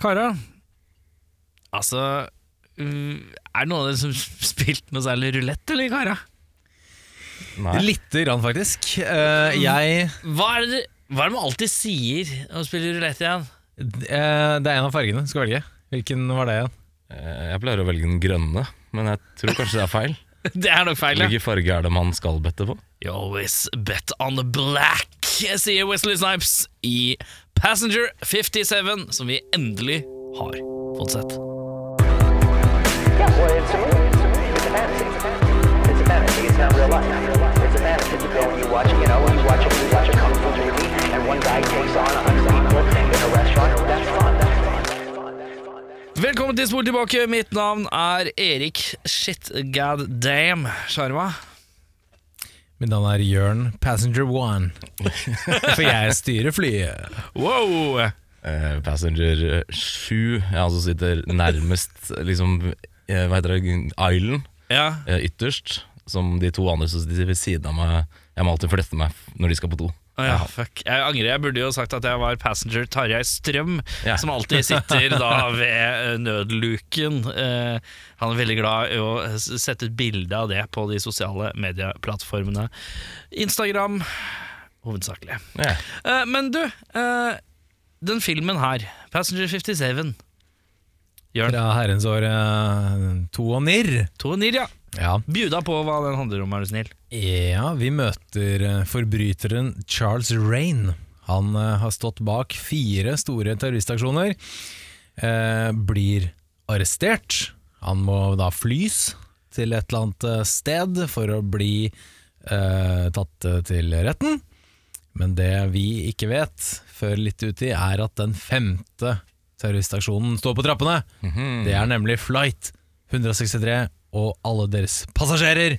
Kara, Altså, uh, er det noen av dere som spilt noe særlig rulett, eller, Kara? Nei. lite grann faktisk. Eh, jeg Mm. Hva er det, hva er det man alltid sier når man spiller rulett igjen? eh, Det er en av fargene du skal velge. Hvilken var det igjen? Eh, Jeg pleier å velge den grønne, men jeg tror kanskje det er feil. Det er nok feil, ja. Hvilken farge er det man skal bette på? You always bet on the black, sier Wesley Snipes i Passenger 57, som vi endelig har fått sett. Yeah, well, it's a movie. It's a movie. It's a fantasy. It's a fantasy. It's not real life. It's a fantasy. You go and you watch, you know, you watch a, you watch a kung fu movie, and one guy takes on a hundred people in a restaurant. That's fun. That's fun. That's fun. That's fun. Velkommen til Spol tilbake. Mitt navn er Erik Shit God Damn Sharma. Mitt navn er Jørn Passenger One. For jeg styrer flyet. Wow! Eh, Passenger eh, 7, jeg altså sitter nærmest liksom, eh, hva heter det, island Ja, eh, ytterst, som de to andre som sitter ved siden av meg. Jeg må alltid flette meg f- når de skal på do. Å ja, fuck. Jeg angrer. Jeg burde jo sagt at jeg var passenger Tarjei Strøm, Ja. som alltid sitter da ved eh, nødluken. Eh, han er veldig glad i å s- sette et bilde av det på de sosiale medieplattformene. Instagram hovedsakelig. Ja. Eh, men du, eh, den filmen her, Passenger 57 Jørn, Fra herrens år eh, to og nirr. to Nirja, Ja. bjuda på hva den handler om, er du snill. Ja, vi møter eh, forbryteren Charles Rain. Han eh, har stått bak fire store terroristaksjoner. Eh, blir arrestert. Han må da flys til et eller annet eh, sted for å bli eh, tatt eh, til retten. Men det vi ikke vet før litt uti, er at den femte terroristaksjonen står på trappene. Det er nemlig Flight 163 og alle deres passasjerer.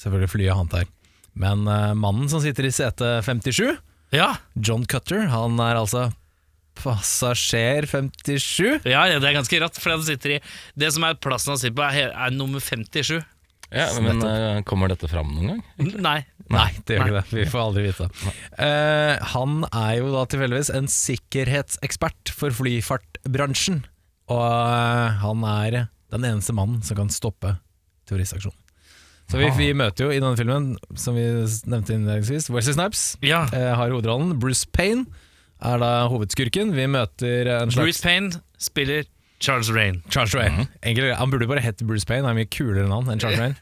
Selvfølgelig flyet han tar. Men eh, mannen som sitter i sete 57, Ja, John Cutter, han er altså passasjer 57. ja, ja, det er ganske rått, for han sitter i Det som er plassen han sitter på, er, he- er nummer 57. Ja, men eh, kommer dette fram noen gang? Nei. Nei, det gjør ikke det. Vi får aldri vite. Eh, han er jo da tilfeldigvis en sikkerhetsekspert for flyfartbransjen. Og eh, han er den eneste mannen som kan stoppe terroristaksjonen. Så vi, vi møter jo i denne filmen, som vi nevnte innledningsvis, Wesley Snipes. Ja. eh, har hovedrollen. Bruce Payne er da hovedskurken. Vi møter en slags Bruce Mhm. Payne spiller Charles Rain. Charles Rain. Enkel, han burde bare hett Bruce Payne, han er mye kulere navn enn Charles Rain.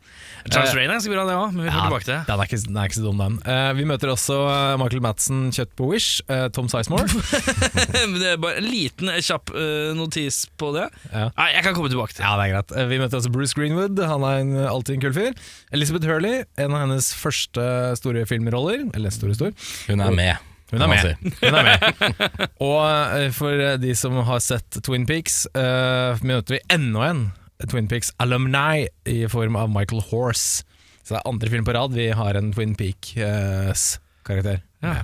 Charles Eh, Rain er ganske bra, det òg, men vi kommer tilbake til det. den, er ikke, den er ikke så dum, den. Eh, vi møter også eh, Michael Madsen, Kjøtt på Wish, eh, Tom Sizemore. Men det er bare En liten, eh, kjapp eh, notis på det. Ja. Nei, jeg kan komme tilbake til det. ja, det er greit. Eh, vi møter også Bruce Greenwood, han er en, eh, alltid en kul fyr. Elizabeth Hurley, en av hennes første eh, store filmroller. Eller store, stor. Hun er med. Hun er kan man med. si. Hun er med. Og eh, for eh, de som har sett Twin Peaks, eh, møter vi enda en Twin Peaks alumni i form av Michael Horse. Så det er andre film på rad vi har en Twin eh, Peaks-karakter. Ja.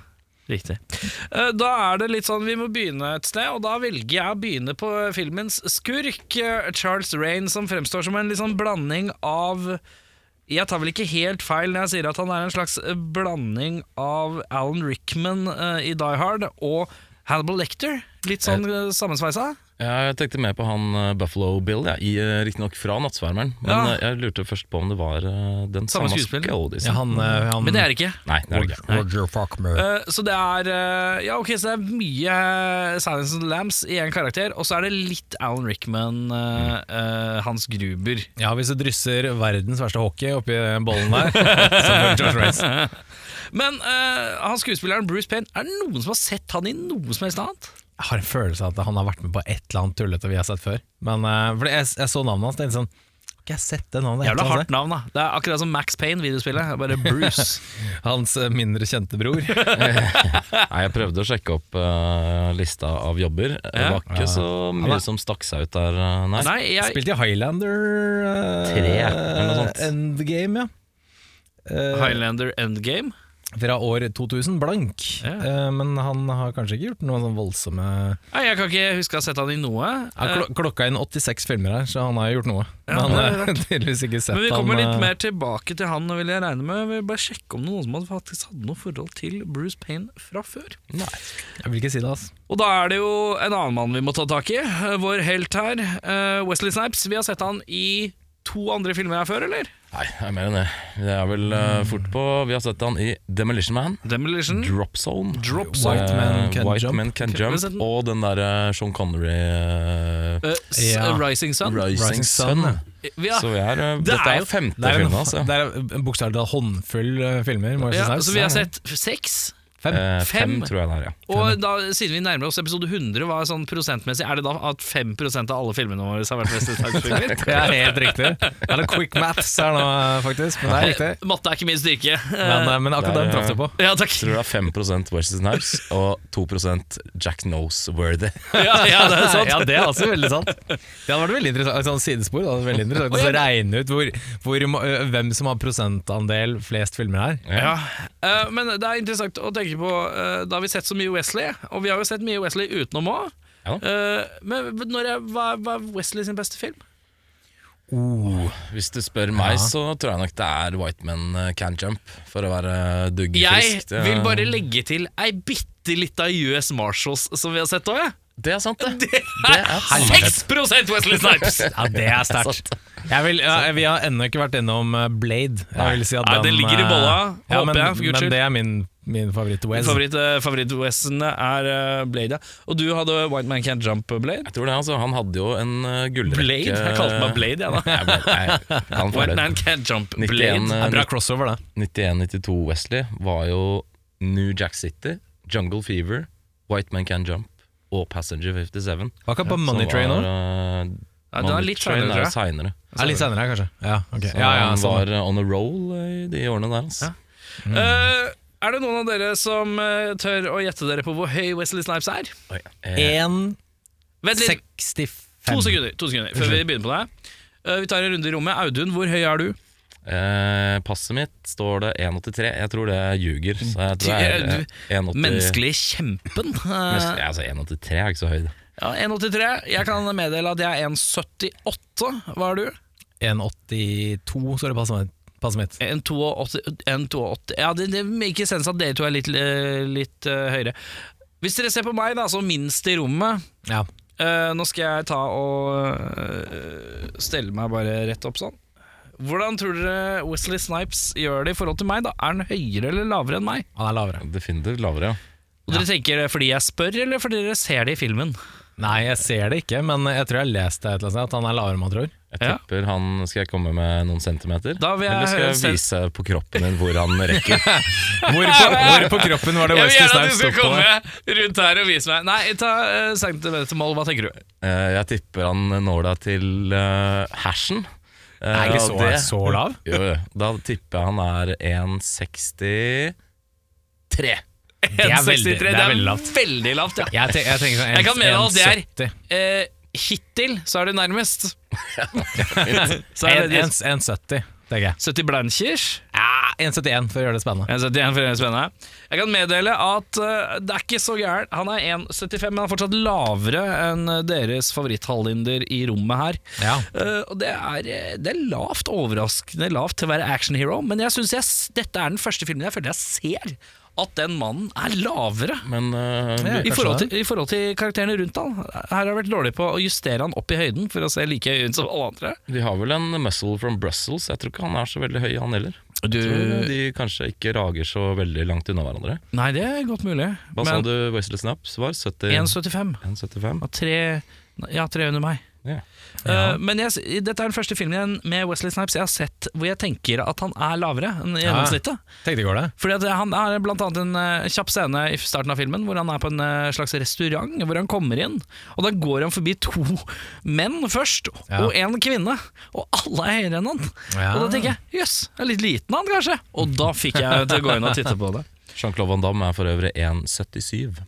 Riktig. Eh, Da er det litt sånn vi må begynne et sted, og da velger jeg å begynne på filmens skurk, eh, Charles Rain, som fremstår som en litt sånn blanding av Jeg tar vel ikke helt feil når jeg sier at han er en slags eh, blanding av Alan Rickman eh, i Die Hard og Hannibal Lecter. Litt sånn eh, sammensveisa. Ja, jeg tenkte mer på han eh, Buffalo Bill, ja, i, eh, riktignok fra Nattsvermeren. Men Ja. eh, jeg lurte først på om det var eh, den Samme samme, skuespiller. skådisen. Ja, han, eh, han, Mm. Men det er det ikke. Nei, det er det ikke. Roger Faulkner. Eh, så det er eh, Ja, ok, så det er mye eh, Silence of the Lambs i én karakter, og så er det litt Alan Rickman, eh, eh, Hans Gruber. Ja, hvis du drysser verdens verste hockey oppi bollen der, så bør Josh Race. Men eh, han skuespilleren Bruce Payne, er det noen som har sett han i noe som helst annet? Jeg har en følelse av at han har vært med på et eller annet tullete vi har sett før. Men eh, for jeg, jeg så navnet hans, tenkte sånn Har ikke jeg sett det navnet? et Jævla eller annet hardt navn, da. Det er akkurat som Max Payne, videospillet. Det er Bare Bruce. sted?» Hans eh, mindre kjente bror. Nei, jeg prøvde å sjekke opp eh, lista av jobber. Det var ikke så mye som stakk seg ut der, eh, nei. Nei, jeg, Spilte i Highlander eh, Tre, eller noe sånt. Endgame, ja. Eh, Highlander Endgame. fra år 2000 blank. Ja. Eh, men han har kanskje ikke gjort noe sånn voldsomme Nei, jeg kan ikke huske å ha sett han i noe. Eh, ja, klo Klokka er inn 86 filmer her, så han har gjort noe. Men Ja, han det er har tydeligvis ikke sett Men vi kommer han, litt eh, mer tilbake til han, vil jeg regne med. Vi vil bare sjekke om noen som hadde faktisk hadde noe forhold til Bruce Payne fra før. Jeg vil ikke si det, altså. Og da er det jo en annen mann vi må ta tak i. eh, Vår helt her, eh, Wesley Snipes. Vi har sett han i to andre filmer her før, eller? Nei, det er mer enn det. Det er vel eh, Mm. fort på Vi har sett han i Demolition Man, Demolition. Drop Zone. Drop Zone. White Man Eh, Can White Jump. Man Can Kan vi Jump se den? og den derre Sean Connery eh, eh, s- Ja. Rising Sun. Rising Sun. Vi har- Så vi er, eh, Det dette er er, jo- femte Det er en, filmen altså. hans. ja. det er en bokstavelig talt håndfull eh, filmer. må jeg ja, si. så vi har sett seks. fem. Eh, fem. Fem, tror jeg det er, ja. Og da, siden vi nærmer oss episode 100, hva er sånn prosentmessig, er det da at 5 av alle filmene våre har vært Wesley Snipes-filmer? Det er helt riktig. Det er noen quick maths her nå, eh, faktisk. Men det er riktig. Eh, Matte er ikke min styrke. Men, eh, men Det akkurat er, den traff du på. Ja, takk. Tror det er 5 Wesley Snipes og 2 Jack Nose-worthy. Ja, ja, det er sant. Ja, det er også veldig sant. Det hadde vært veldig interessant et sånt sidespor. Det hadde vært veldig interessant å regne ut hvor, hvor, ma- ø, hvem som har prosentandel flest filmer her. Ja. Eh, men det er interessant å tenke på eh, Da har vi sett så mye Wesley, og vi har jo sett mye Wesley utenom òg. Ja. men når jeg, hva, hva er Wesley sin beste film? Oh, Hvis du spør meg, så tror jeg nok det er White Men eh, Can Jump, for å være Jeg duggfrisk. Det- vil bare legge til ei bitte lita US Marshals som vi har sett òg, jeg. Det er sant, det. Det er 6 Wesley Snipes! Ja, det er sterkt. Jeg vil, ja, vi har ennå ikke vært innom eh, Blade. Jeg vil si at Nei, den ligger i eh, bolla, ja, håper men, jeg, for guds skyld. Men det er min, min favoritt-Wes. Favoritt, eh, Favoritt-Wesenet er eh, Blade, ja. Og du hadde White Man Can't Jump, Blade? Jeg tror det, altså. Han hadde jo en eh, gullrekke Blade? Jeg kalte meg Blade, jeg, da. Nei, Blade, nei, han får White det. Man Can't Jump, 91, Blade. Det er bra crossover, det. 91-92 Wesley var jo New Jack City, Jungle Fever, White Man Can Jump og Passenger 57. Var ikke han på som Money Train var, eh, òg? Ja, det Money er litt Train senere, er jo tror jeg. seinere. Litt senere, her, kanskje. Ja, ok. Så ja, ja, han sånn. var eh, on a roll eh, i de årene der. Altså. Eh, er det noen av dere som eh, tør å gjette dere på hvor høy Wesley Snipes er? Oi, eh, 1,65. Vent litt, to sekunder, to sekunder før vi begynner på det. Eh, vi tar en runde i rommet. Audun, hvor høy er du? eh, passet mitt står det 1,83. Jeg tror det ljuger. Så jeg tror jeg er Du- eh, 1,80 Menneskelig kjempen. Menneskelig, Eh, altså 1,83 er ikke så høy, det. ja, 1,83. Jeg kan meddele at jeg er 1,78. Hva er du? 1,82, så det passer meg- passer mitt. 1,82. 1,82. Ja, det, det ikke sense at dere to er litt, eh, litt eh, høyere. Hvis dere ser på meg, da, som minst i rommet Ja. Eh, nå skal jeg ta og eh, stelle meg bare rett opp sånn. Hvordan tror dere Wesley Snipes gjør det i forhold til meg? da? Er han høyere eller lavere enn meg? Han er lavere. Definitivt lavere, ja. Og Dere tenker det fordi jeg spør, eller fordi dere ser det i filmen? Nei, jeg ser det ikke, men jeg tror jeg har lest det et eller annet sted, at han er lavere enn man tror. Jeg Ja. tipper han Skal jeg komme med noen centimeter? Da vil jeg Eller skal jeg høre- vise på kroppen din hvor han rekker? Hvor på, hvor på kroppen var det Wesley Snipes stod på? det? rundt her og vise meg. Nei, ta uh, centimetermål, hva tenker du? Eh, jeg tipper han når deg til eh, hersen. Eh, Er ikke og så, det- så lav? Jo, jo. Da tipper jeg han er 1,63. er 1,63. veldig- det er veldig lavt. Veldig lavt, ja. Jeg, tenk, jeg tenker sånn Jeg kan mene at det er- 1,70. Eh, hittil så er du nærmest. så er det 1,70, tenker jeg. 70 blankers. Ah, 1,71 for å gjøre det spennende. Jeg setter igjen for det er spennende. Jeg kan meddele at eh, det er ikke så gærent. Han er 1,75, men han er fortsatt lavere enn deres favoritthallinder i rommet her. Ja. Eh, og det er, eh, det er lavt, overraskende lavt til å være action hero, men jeg synes jeg, s- dette er den første filmen jeg føler jeg ser at den mannen er lavere. Men eh, Ja. I Kanskje forhold, det. til, I forhold til karakterene rundt han Her har jeg vært dårlig på å justere han opp i høyden For å se like høy ut som alle andre de har vel en muscle from Brussels. Jeg tror ikke han er så veldig høy, han heller. du, Jeg tror de kanskje ikke rager så veldig langt unna hverandre. Nei, det er godt mulig Hva sa Men du Wesley Snaps var? 70, 1,75 1,75? Og tre, ja, tre under meg Ja. Eh, men jeg, s- dette er den første filmen jeg- med Wesley Snipes jeg har sett hvor jeg tenker at han er lavere enn gjennomsnittet. Tenkte i går det. Fordi at Han er blant annet en eh, kjapp scene i starten av filmen hvor han er på en eh, slags restaurant. Hvor han kommer inn, og da går han forbi to menn først, Ja. og en kvinne. Og alle er høyere enn han. Ja. Og da tenker jeg jøss, er litt liten han kanskje? Og da fikk jeg til å gå inn og titte på det. Jean-Claude Van Damme er for øvrig 1,77.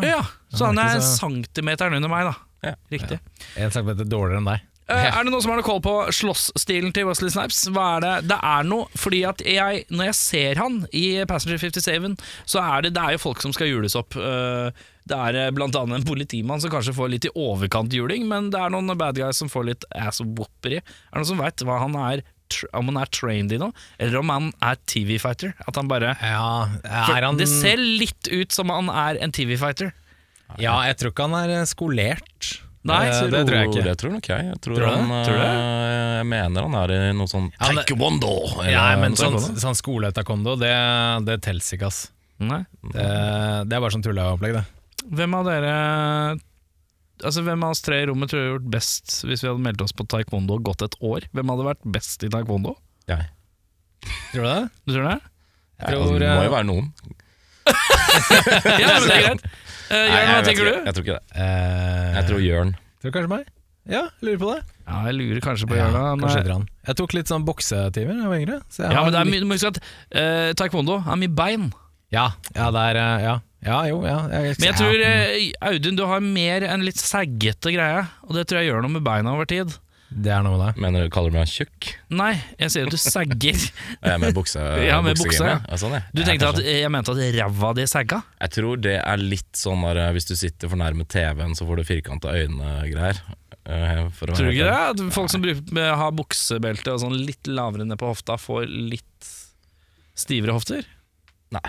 Ja, Så han ikke er så- centimeteren under meg, da. Ja. Riktig. En centimeter dårligere enn deg. Eh, er det noen som har noe koll på slåssstilen til Wesley Snipes? Hva er det? det er noe, fordi at jeg, når jeg ser han i Passenger 57, så er det, det er jo folk som skal jules opp. Eh, det er eh, blant annet en politimann som kanskje får litt i overkant juling, men det er noen bad guys som får litt ass-whopperi. Er det noen som veit hva han er, tr- om han er trained i noe, eller om han er TV-fighter? At han bare... Ja, For er han, Det ser litt ut som han er en TV-fighter. ja, jeg tror ikke han er eh, skolert. Nei, Eh, det, tror jeg ikke. Det tror nok jeg. Jeg, tror Tror du han, det? Tror du det? eh, jeg mener han er i noe sånn Ja, det- taekwondo. eller Ja, men noe sånn, sånt. sånn skole-taekwondo, det, det tels ikke, ass. Nei. Det, det er bare sånn tulleopplegg, det. Hvem av dere Altså Hvem av oss tre i rommet tror jeg hadde gjort best hvis vi hadde meldt oss på taekwondo og gått et år? Hvem hadde vært best i taekwondo? Jeg. Tror du det? Du tror det? Jeg tror, altså, det må eh, jo være noen. Ja, men det er greit. Eh, Jørn, hva Nei, jeg vet tenker ikke. du? Jeg tror ikke det. Eh, Jeg tror Jørn. tror kanskje meg. Ja, lurer på det. Ja, jeg lurer kanskje på Ja, Jørn. da, men- eh, kanskje dran. Jeg tok litt sånn boksetimer da jeg var yngre. Så jeg Ja, har men det er litt- mye, du må huske at eh, taekwondo er mye bein. Ja, ja, det er eh, Ja, ja jo, ja. Men jeg tror, eh, Audun, du har mer en litt saggete greie, og det tror jeg gjør noe med beina over tid. Mm, Det er noe med det. Mener du kaller du meg tjukk? Nei, jeg sier at du sagger. Er jeg med bukse? Ja, med bukse, ja. buksegreiene? Ja, sånn, ja. Du Ja, tenkte at kanskje. jeg mente at ræva di sagga? Jeg tror det er litt sånn der eh, hvis du sitter for nærme TV-en, så får du firkanta øyne-greier. eh, for å Tror du være ikke det? helt At folk som bruker, med- har buksebelte og sånn litt lavere ned på hofta, får litt stivere hofter? ærlig. Nei.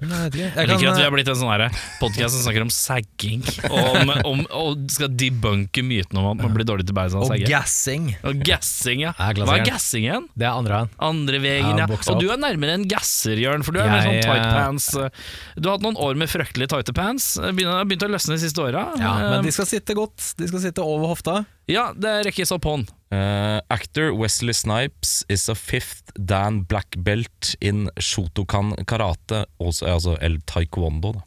Nei, jeg vet ikke. Jeg Jeg liker at vi kan, eh, har blitt en sånn podkast som snakker om sagging, og, om, om, og skal debunke myten om at man blir dårlig til beina av å og sagge. gassing. Og gassing, ja. Ja, Hva er klassikeren. gassing igjen? Det er andre veien. Andre veien, ja. Ja, buksa Og du opp. er nærmere en gasser, Jørn, for du er mer sånn Jeg, tight eh, pants. Du har hatt noen år med fryktelig tighte pants. Begynner- har begynt å løsne de siste åra. Eh, Ja, men de skal sitte godt. De skal sitte over hofta. ja, det rekkes opp hånd. Eh, actor Wesley Snipes is a fifth Dan Black Belt in Shotokan karate, også, altså, eller taekwondo. Da.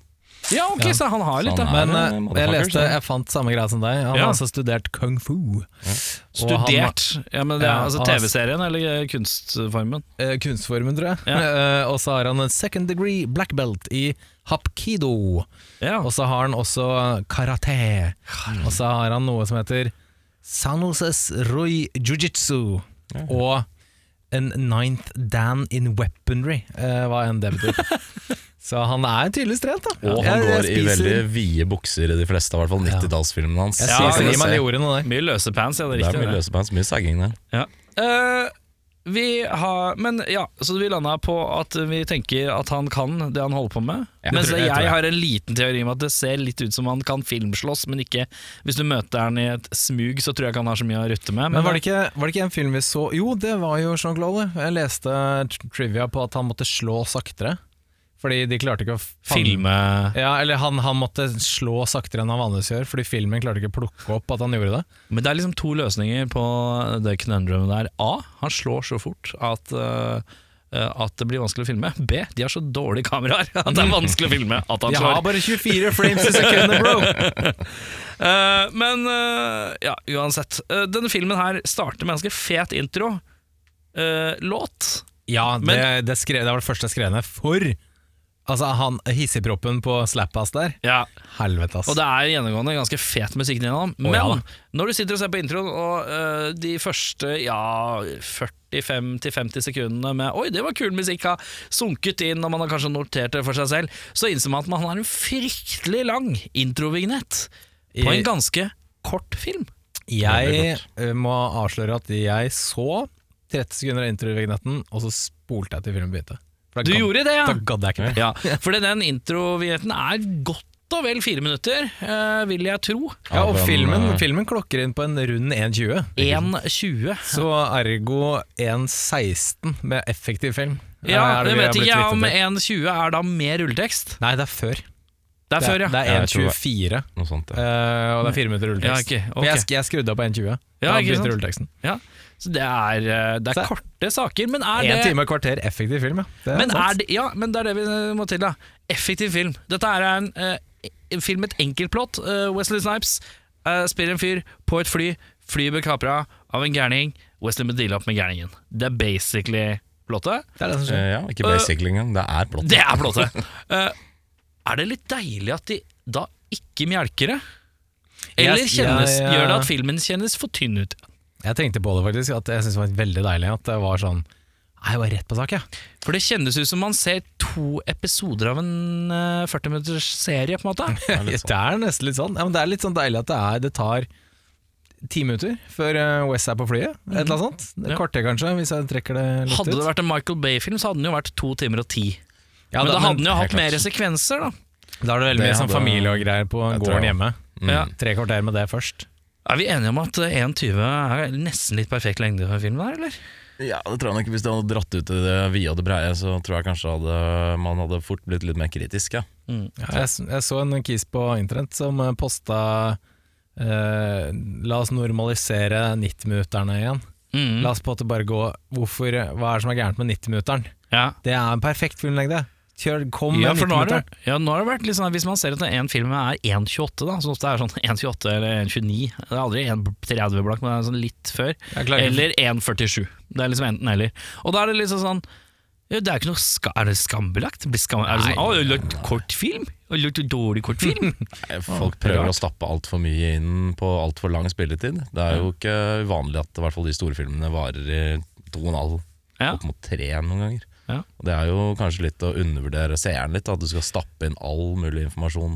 Ja, ok, Ja. så han har litt, Så da. han Men Nei, eh, jeg motherfucker, leste, så. jeg fant samme greia som deg. Han Ja. har altså studert kung fu. Og han- Studert? ja, men det er Ja, altså han har- TV-serien eller eh, kunstformen? eh, kunstformen, tror jeg. Eh, og så har han en second degree black belt i hapkido. Ja. Og så har han også Ah. karate. Og så har han noe som heter Sanoses Rui Jiu-Jitsu. Og en ninth dan in weaponry, eh, hva enn det betyr. så han er tydeligvis trent, da. Og han Jeg- jeg går i spiser- veldig vide bukser i de fleste, i hvert fall 90-tallsfilmene hans. Jeg Ja, spiser det i meg det, jorda nå, der. Mye løse pants, ja, det er det er riktig. mye løse pants, mye sagging der. Ja. Eh, vi har Men ja, så vi landa på at vi tenker at han kan det han holder på med. Ja, mens jeg tror- jeg, jeg tror det. har en liten teori om at det ser litt ut som han kan filmslåss, men ikke Hvis du møter han i et smug, så tror jeg ikke han har så mye å rutte med. Men var det, ikke, var det ikke en film vi så Jo, det var jo Jean-Claude. Jeg leste tr- trivia på at han måtte slå saktere. Fordi de klarte ikke å fange- filme Ja, eller han, han måtte slå saktere enn han vanligvis gjør, fordi filmen klarte ikke å plukke opp at han gjorde det. Men det er liksom to løsninger på det conundrumet der. A. Han slår så fort at eh, eh, at det blir vanskelig å filme. B. De har så dårlige kameraer at det er vanskelig å filme at han De har slår. bare 24 frames i sekundet, bro! Eh, men eh, ja, uansett. Eh, denne filmen her starter med en ganske fet intro. eh, låt. Ja, det, Men- det, skrev, det var det første jeg skrev ned. For altså, han hissigproppen på slap-ass der. Ja. Helvete, ass. Og det er gjennomgående ganske fet musikk innom. Men ja da. når du sitter og ser på introen, og eh, de første ja, 45-50 sekundene med 'oi, det var kul musikk', har sunket inn, og man har kanskje notert det for seg selv, så innser man at man har en fryktelig lang introvignett på I- en ganske kort film. jeg eh, må avsløre at jeg så 30 sekunder av introvignetten, og så spolte jeg til filmen begynte. For da Du gadd- gjorde det, ja! Da gadd jeg ikke mer. Ja, for den introvignetten er godt og vel fire minutter, eh, vil jeg tro. Ja, Av og en, filmen, eh, filmen klokker inn på en rund 1,20. 1,20. Så ergo 1,16 med effektiv film. Ja, jeg Er det vi har vet blitt ikke vitne om til. 1,20 er da med rulletekst. Nei, det er før. Det er før, ja. Det er Jeg tror det 1,24, Noe sånt, ja. eh, og det er fire minutter rulletekst. Mm. Ja, ok, ok. Men jeg, sk- jeg skrudde av på 1,20. Ja, Da ikke sant? begynte rulleteksten. ja. Så det er, eh, det er Så- korte saker, men er Én det time og et kvarter effektiv film, ja. Det er men sant. er det, ja, men det er det vi eh, må til, da. Effektiv film. Dette er en eh, en film med et enkeltplott. Eh, Wesley Snipes eh, spiller en fyr på et fly. Flyet blir kapra av en gærning. Wesley må deale opp med gærningen. Det er basically plottet. Det er det som skjer. Eh, ja, ikke basically engang, det er blått. Det er plottet! Eh, er det litt deilig at de da ikke mjelker det? Eller Jeg- kjennes, jeg- gjør det at filmen kjennes for tynn ut? Jeg tenkte på det faktisk, at jeg syntes det var veldig deilig at det var sånn Nei, jeg var rett på sak, jeg. For det kjennes ut som man ser to episoder av en eh, 40 minutters serie, på en måte. Det er, nesten litt sånn. Ja, men det er litt sånn deilig at det, er, det tar ti minutter før eh, Wes er på flyet. Et eller annet sånt. Et Mhm. Ja. kvarter kanskje, hvis jeg trekker det litt Hadde ut. det vært en Michael Bay-film, så hadde den jo vært to timer og ti. ja, men da hadde den jo helt hatt klart. mer sekvenser, da. Da er det veldig Det mye sånn hadde- familie og greier på Jeg tror gården jeg- hjemme. Mm. Ja. Tre kvarter med det først. Er vi enige om at eh, 1,20 er nesten litt perfekt lengde for en film der, eller? Ja, det tror jeg nok Hvis det hadde dratt ut i det vide og det breie, så tror jeg kanskje hadde, man hadde fort blitt litt mer kritisk. Ja. Mm. Ja, jeg, s- jeg så en kis på internett som eh, posta eh, La oss normalisere 90-minutterne igjen. Mm. La oss på at det bare gå hvorfor, Hva er det som er gærent med 90-minutteren? Ja. Det er en perfekt filmlengde. Kjør, kom med Ja, for nå har det, 90-minutteren. ja, nå har det vært litt sånn at Hvis man ser at en film er 1,28, da, som ofte er sånn 1,28 eller 1,29 Det er aldri 1,30 blank, men det er sånn litt før. Jeg klarer ikke- Eller 1,47. Det er liksom enten eller. Og da er det liksom sånn ja, det er, ikke noe ska er det skambelagt? Blir skam er det sånn, å, jeg har lagt kort film? Jeg har lagt dårlig kort film? Eh, Folk prøver å stappe altfor mye inn på altfor lang spilletid. Det er jo ikke uvanlig at i hvert fall de store filmene varer i to og en halv, Ja. opp mot tre noen ganger. Ja. Og Det er jo kanskje litt å undervurdere seeren litt, at du skal stappe inn all mulig informasjon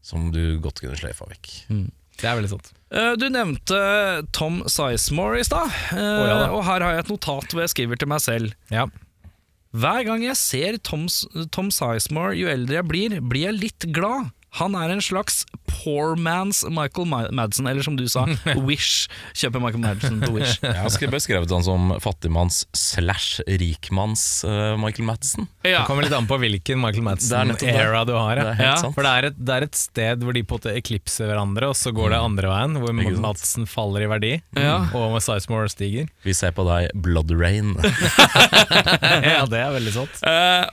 som du godt kunne slefa vekk. Det er veldig sant. Eh, Du nevnte Tom Sizemore i stad, eh, ja da. og her har jeg et notat hvor jeg skriver til meg selv. Ja. Hver gang jeg ser Tom, Tom Sizemore jo eldre jeg blir, blir jeg litt glad. Han er en slags poor man's Michael Ma- Madsen, eller som du sa, Wish. Kjøper Michael Madsen på Wish. Jeg har skrevet, beskrevet han som fattigmanns slash rikmanns eh, Michael Madsen. Det Ja. kommer litt an på hvilken Michael nettopp det. Madsen-era du Det har. Ja. er helt Ja. sant. For det er, et, det er et sted hvor de på en måte eklipser hverandre, og så går det andre veien, hvor Mm. Ikke sant? Mm. Madsen faller i verdi, Ja. og Sizemore stiger. Vi ser på deg, Blood Rain. Ja, det er veldig sant. Eh,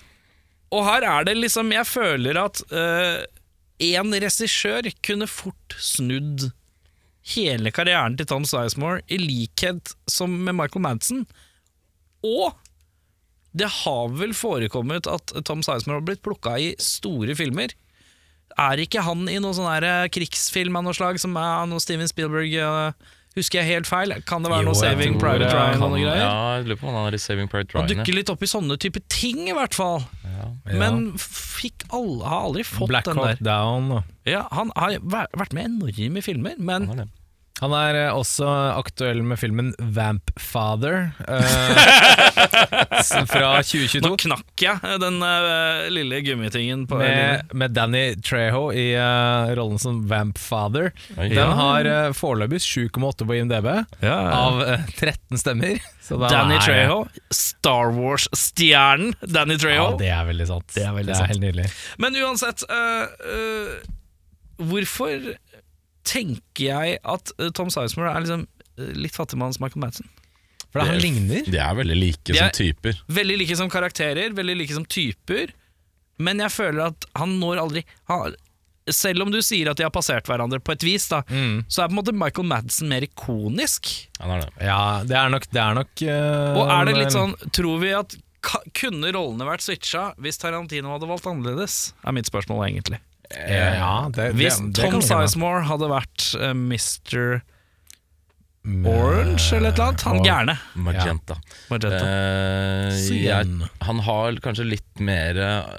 og her er det liksom Jeg føler at én regissør kunne fort snudd hele karrieren til Tom Sizemore, i likhet som med Michael Madsen. Og det har vel forekommet at Tom Sizemore har blitt plukka i store filmer. Er ikke han i noen sånn her, eh, krigsfilm av noe slag, som er noe Steven Spielberg eh, Husker jeg helt feil? Kan det være Jo, noe jeg Saving tror Private det Ryan og Han- noe greier? eh, Ja, jeg lurer på om han er i Saving Private Han Ryan. ja. dukker litt opp i sånne type ting, i hvert fall. Men fikk all, har aldri fått Black den der. Hawk Down. og- Ja, han har væ- vært med i enorme filmer, men Han er det. Han er eh, også aktuell med filmen Vampfather eh, s- fra nå 2022. knakk jeg eh, den eh, lille gummitingen på Med, med Danny Treho i eh, rollen som Vampfather. Oi. Den har uh, foreløpig 7,8 på IMDb, ja, av av eh, 13 stemmer. Så da Danny er- Treho. Star Wars-stjernen Danny Ja, Treho. det er veldig sant. Det er veldig sant. helt nydelig. Men uansett eh, eh, Hvorfor tenker jeg at eh, Tom Sizemore er liksom eh, litt fattigmanns Michael Madsen? For da, han ligner. De er veldig like De er- som typer. Veldig like som karakterer, veldig like som typer. Men jeg føler at han når aldri han, Selv om du sier at de har passert hverandre på et vis, da, Mm. så er på en måte Michael Madsen mer ikonisk. Han er det. Ja, det er nok, det er nok eh, Og er det litt sånn Tror vi at ka, kunne rollene vært switcha hvis Tarantino hadde valgt annerledes? Er mitt spørsmål, egentlig. eh, Ja, det, det, Hvis det, Tom kan hende. Sizemore hadde vært eh, Mr. Orange eller et eller annet, han gærne. Magenta. Magenta. Eh, Cyan. jeg, han har kanskje litt mer eh,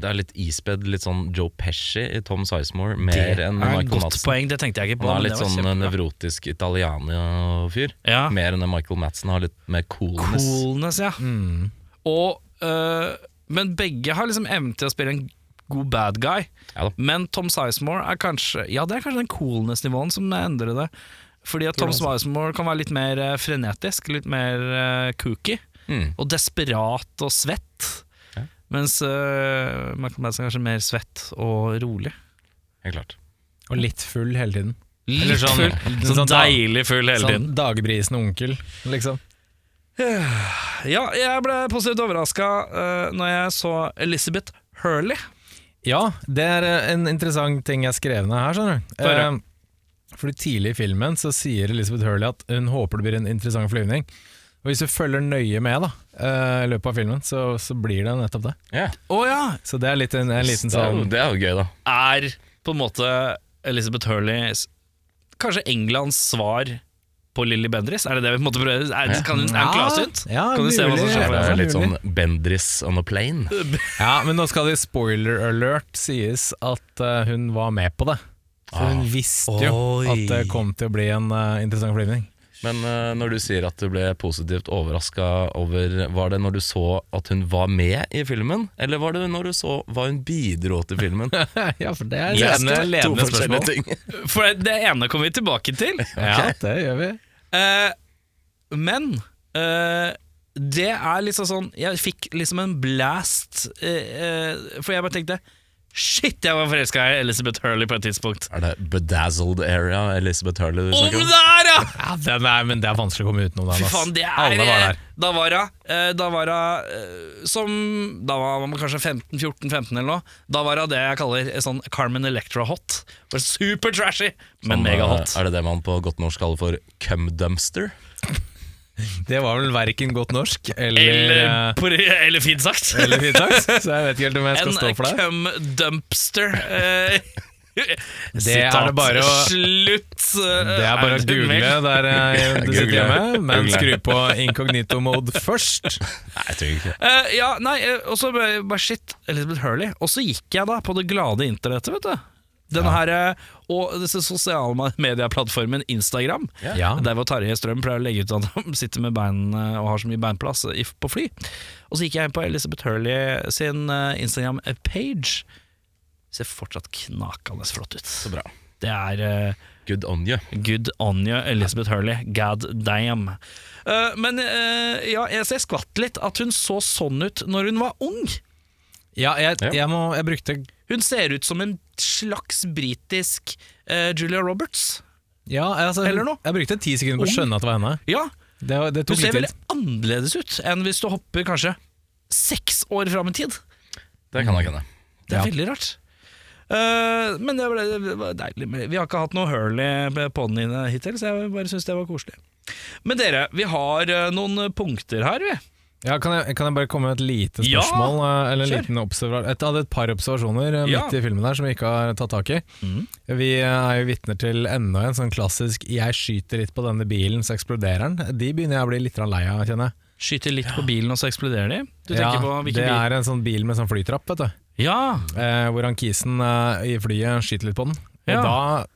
Det er litt ispedd, litt sånn Joe Pesci i Tom Sizemore, mer Det er enn et Michael godt Madsen. poeng, det tenkte jeg ikke på. Han er men litt det var sånn eh, kjempebra. Ah. nevrotisk Italiania-fyr. ja. Mer enn det Michael Madsen har litt mer coolness. Coolness, ja. Mm. Og, øh, men begge har liksom evnen til å spille en god bad guy. Ja da. Men Tom Sizemore er kanskje Ja, det er kanskje den coolness-nivåen som endrer det. altså. Fordi at Tom Sizemore kan være litt mer eh, frenetisk, litt mer eh, kooky. Mm. Og desperat og svett. Ja. Mens eh, Michael Madsen er kanskje mer svett og rolig. Helt klart. Og litt full hele tiden. Eller Litt sånn- full. sånn Så da- deilig full hele tiden. Sånn dagbrisen onkel, liksom. Ja, jeg ble positivt overraska uh, når jeg så Elizabeth Hurley. Ja, det er eh, en interessant ting jeg skrev ned her, skjønner du. Få høre. Eh, fordi tidlig i filmen så sier Elizabeth Hurley at hun håper det blir en interessant flyvning. Og hvis du følger nøye med da, eh, i løpet av filmen, så, så blir det nettopp det. Ja. Å ja! Så det er litt en, en liten det, er jo, sånn det er jo gøy, da. Er på en måte Elizabeth Hurley s- kanskje Englands svar på Lilly Bendriss? Er det det vi på en måte prøver? Er, kan, er hun klarsynt? Ja, kan du se hva som mulig. skjer? Det Ja, er litt mulig. sånn Bendris on a plane. Ja, men nå skal det spoiler alert sies at eh, hun var med på det. Så hun visste jo Ah, Oi. at det kom til å bli en eh, interessant flyvning. Men eh, når du sier at du ble positivt overraska over Var det når du så at hun var med i filmen, eller var det når du så hva hun bidro til filmen? Det ja, for det er er ledende, to ledende forskjellige spørsmål. ting. For det ene kommer vi tilbake til. Ja, det gjør vi. Eh, men eh, det er liksom sånn Jeg fikk liksom en blast, eh, eh, for jeg bare tenkte Shit, jeg var forelska i Elizabeth Hurley på et tidspunkt. Er det Bedazzled Area, Elizabeth Hurley, du Om snakker om? der, ja! Ja, den er, men det er vanskelig å komme utenom den. Fy ass. faen, det er Alle var der. Da var hun eh, Da var hun eh, som Da var man kanskje 15-14-15 eller noe. Da var hun det jeg kaller sånn Carmen Electra-hot. Bare Super trashy, men Sånn, eh, megahot. Er det det man på godt norsk kaller for cumdumpster? Det var vel verken godt norsk eller, Eller, eller, på- eller fint sagt. eh, eller finnlaks, så jeg vet ikke helt om jeg skal stå En for det. cum dumpster. eh, er sitat. det bare å- Slutt! eh, Det er bare å det en google mail? der eh, du sitter Google. hjemme, men Google. skru på incognito mode først. Nei, jeg tror ikke det. Eh, ja, nei, eh, og så bare bare shit, Elizabeth Hurley. Og så gikk jeg da på det glade internettet, vet du. Den her, eh, og disse sosiale medieplattformen Instagram. Ja. Der hvor Tarjei Strøm pleier å legge ut at han sitter med beinene og har så mye beinplass i- på fly. Og så gikk jeg inn på Elizabeth Hurley sin eh, Instagram-page. Ser fortsatt knakende flott ut. Så bra. Det er eh, Good on you. Good on you, Elizabeth Hurley. God damn. Eh, men eh, ja, jeg ser skvatt litt at hun så sånn ut når hun var ung. Ja, jeg, Ja. jeg, må, jeg brukte Hun ser ut som en slags britisk eh, Julia Roberts. ja, altså, Eller noe? Jeg brukte ti sekunder på å Ung. skjønne at det var henne. Ja, Det, det hun tok ser litt tid. veldig annerledes ut enn hvis du hopper kanskje seks år fram i tid. Det kan jeg kjenne. Det er Ja. veldig rart. Eh, men det, ble, det var deilig. med- Vi har ikke hatt noe Hurley på den inne hittil, så jeg bare syns det var koselig. Men dere, vi har eh, noen punkter her, vi. Ja, kan, jeg, kan jeg bare komme med et lite Ja, spørsmål? eh, eller en kjør. liten observa- Jeg hadde et par observasjoner eh, Ja. Mm. midt i filmen her som vi ikke har tatt tak i. Vi eh, er jo vitner til enda en sånn klassisk 'jeg skyter litt på denne bilen, så eksploderer den'. De begynner jeg å bli litt grann lei av, kjenner jeg. Skyter litt på bilen, og så eksploderer de? Du ja, tenker på hvilken det bil? er en sånn bil med sånn flytrapp, vet du. Ja, Eh, hvor han kisen eh, i flyet skyter litt på den. Og Ja. da,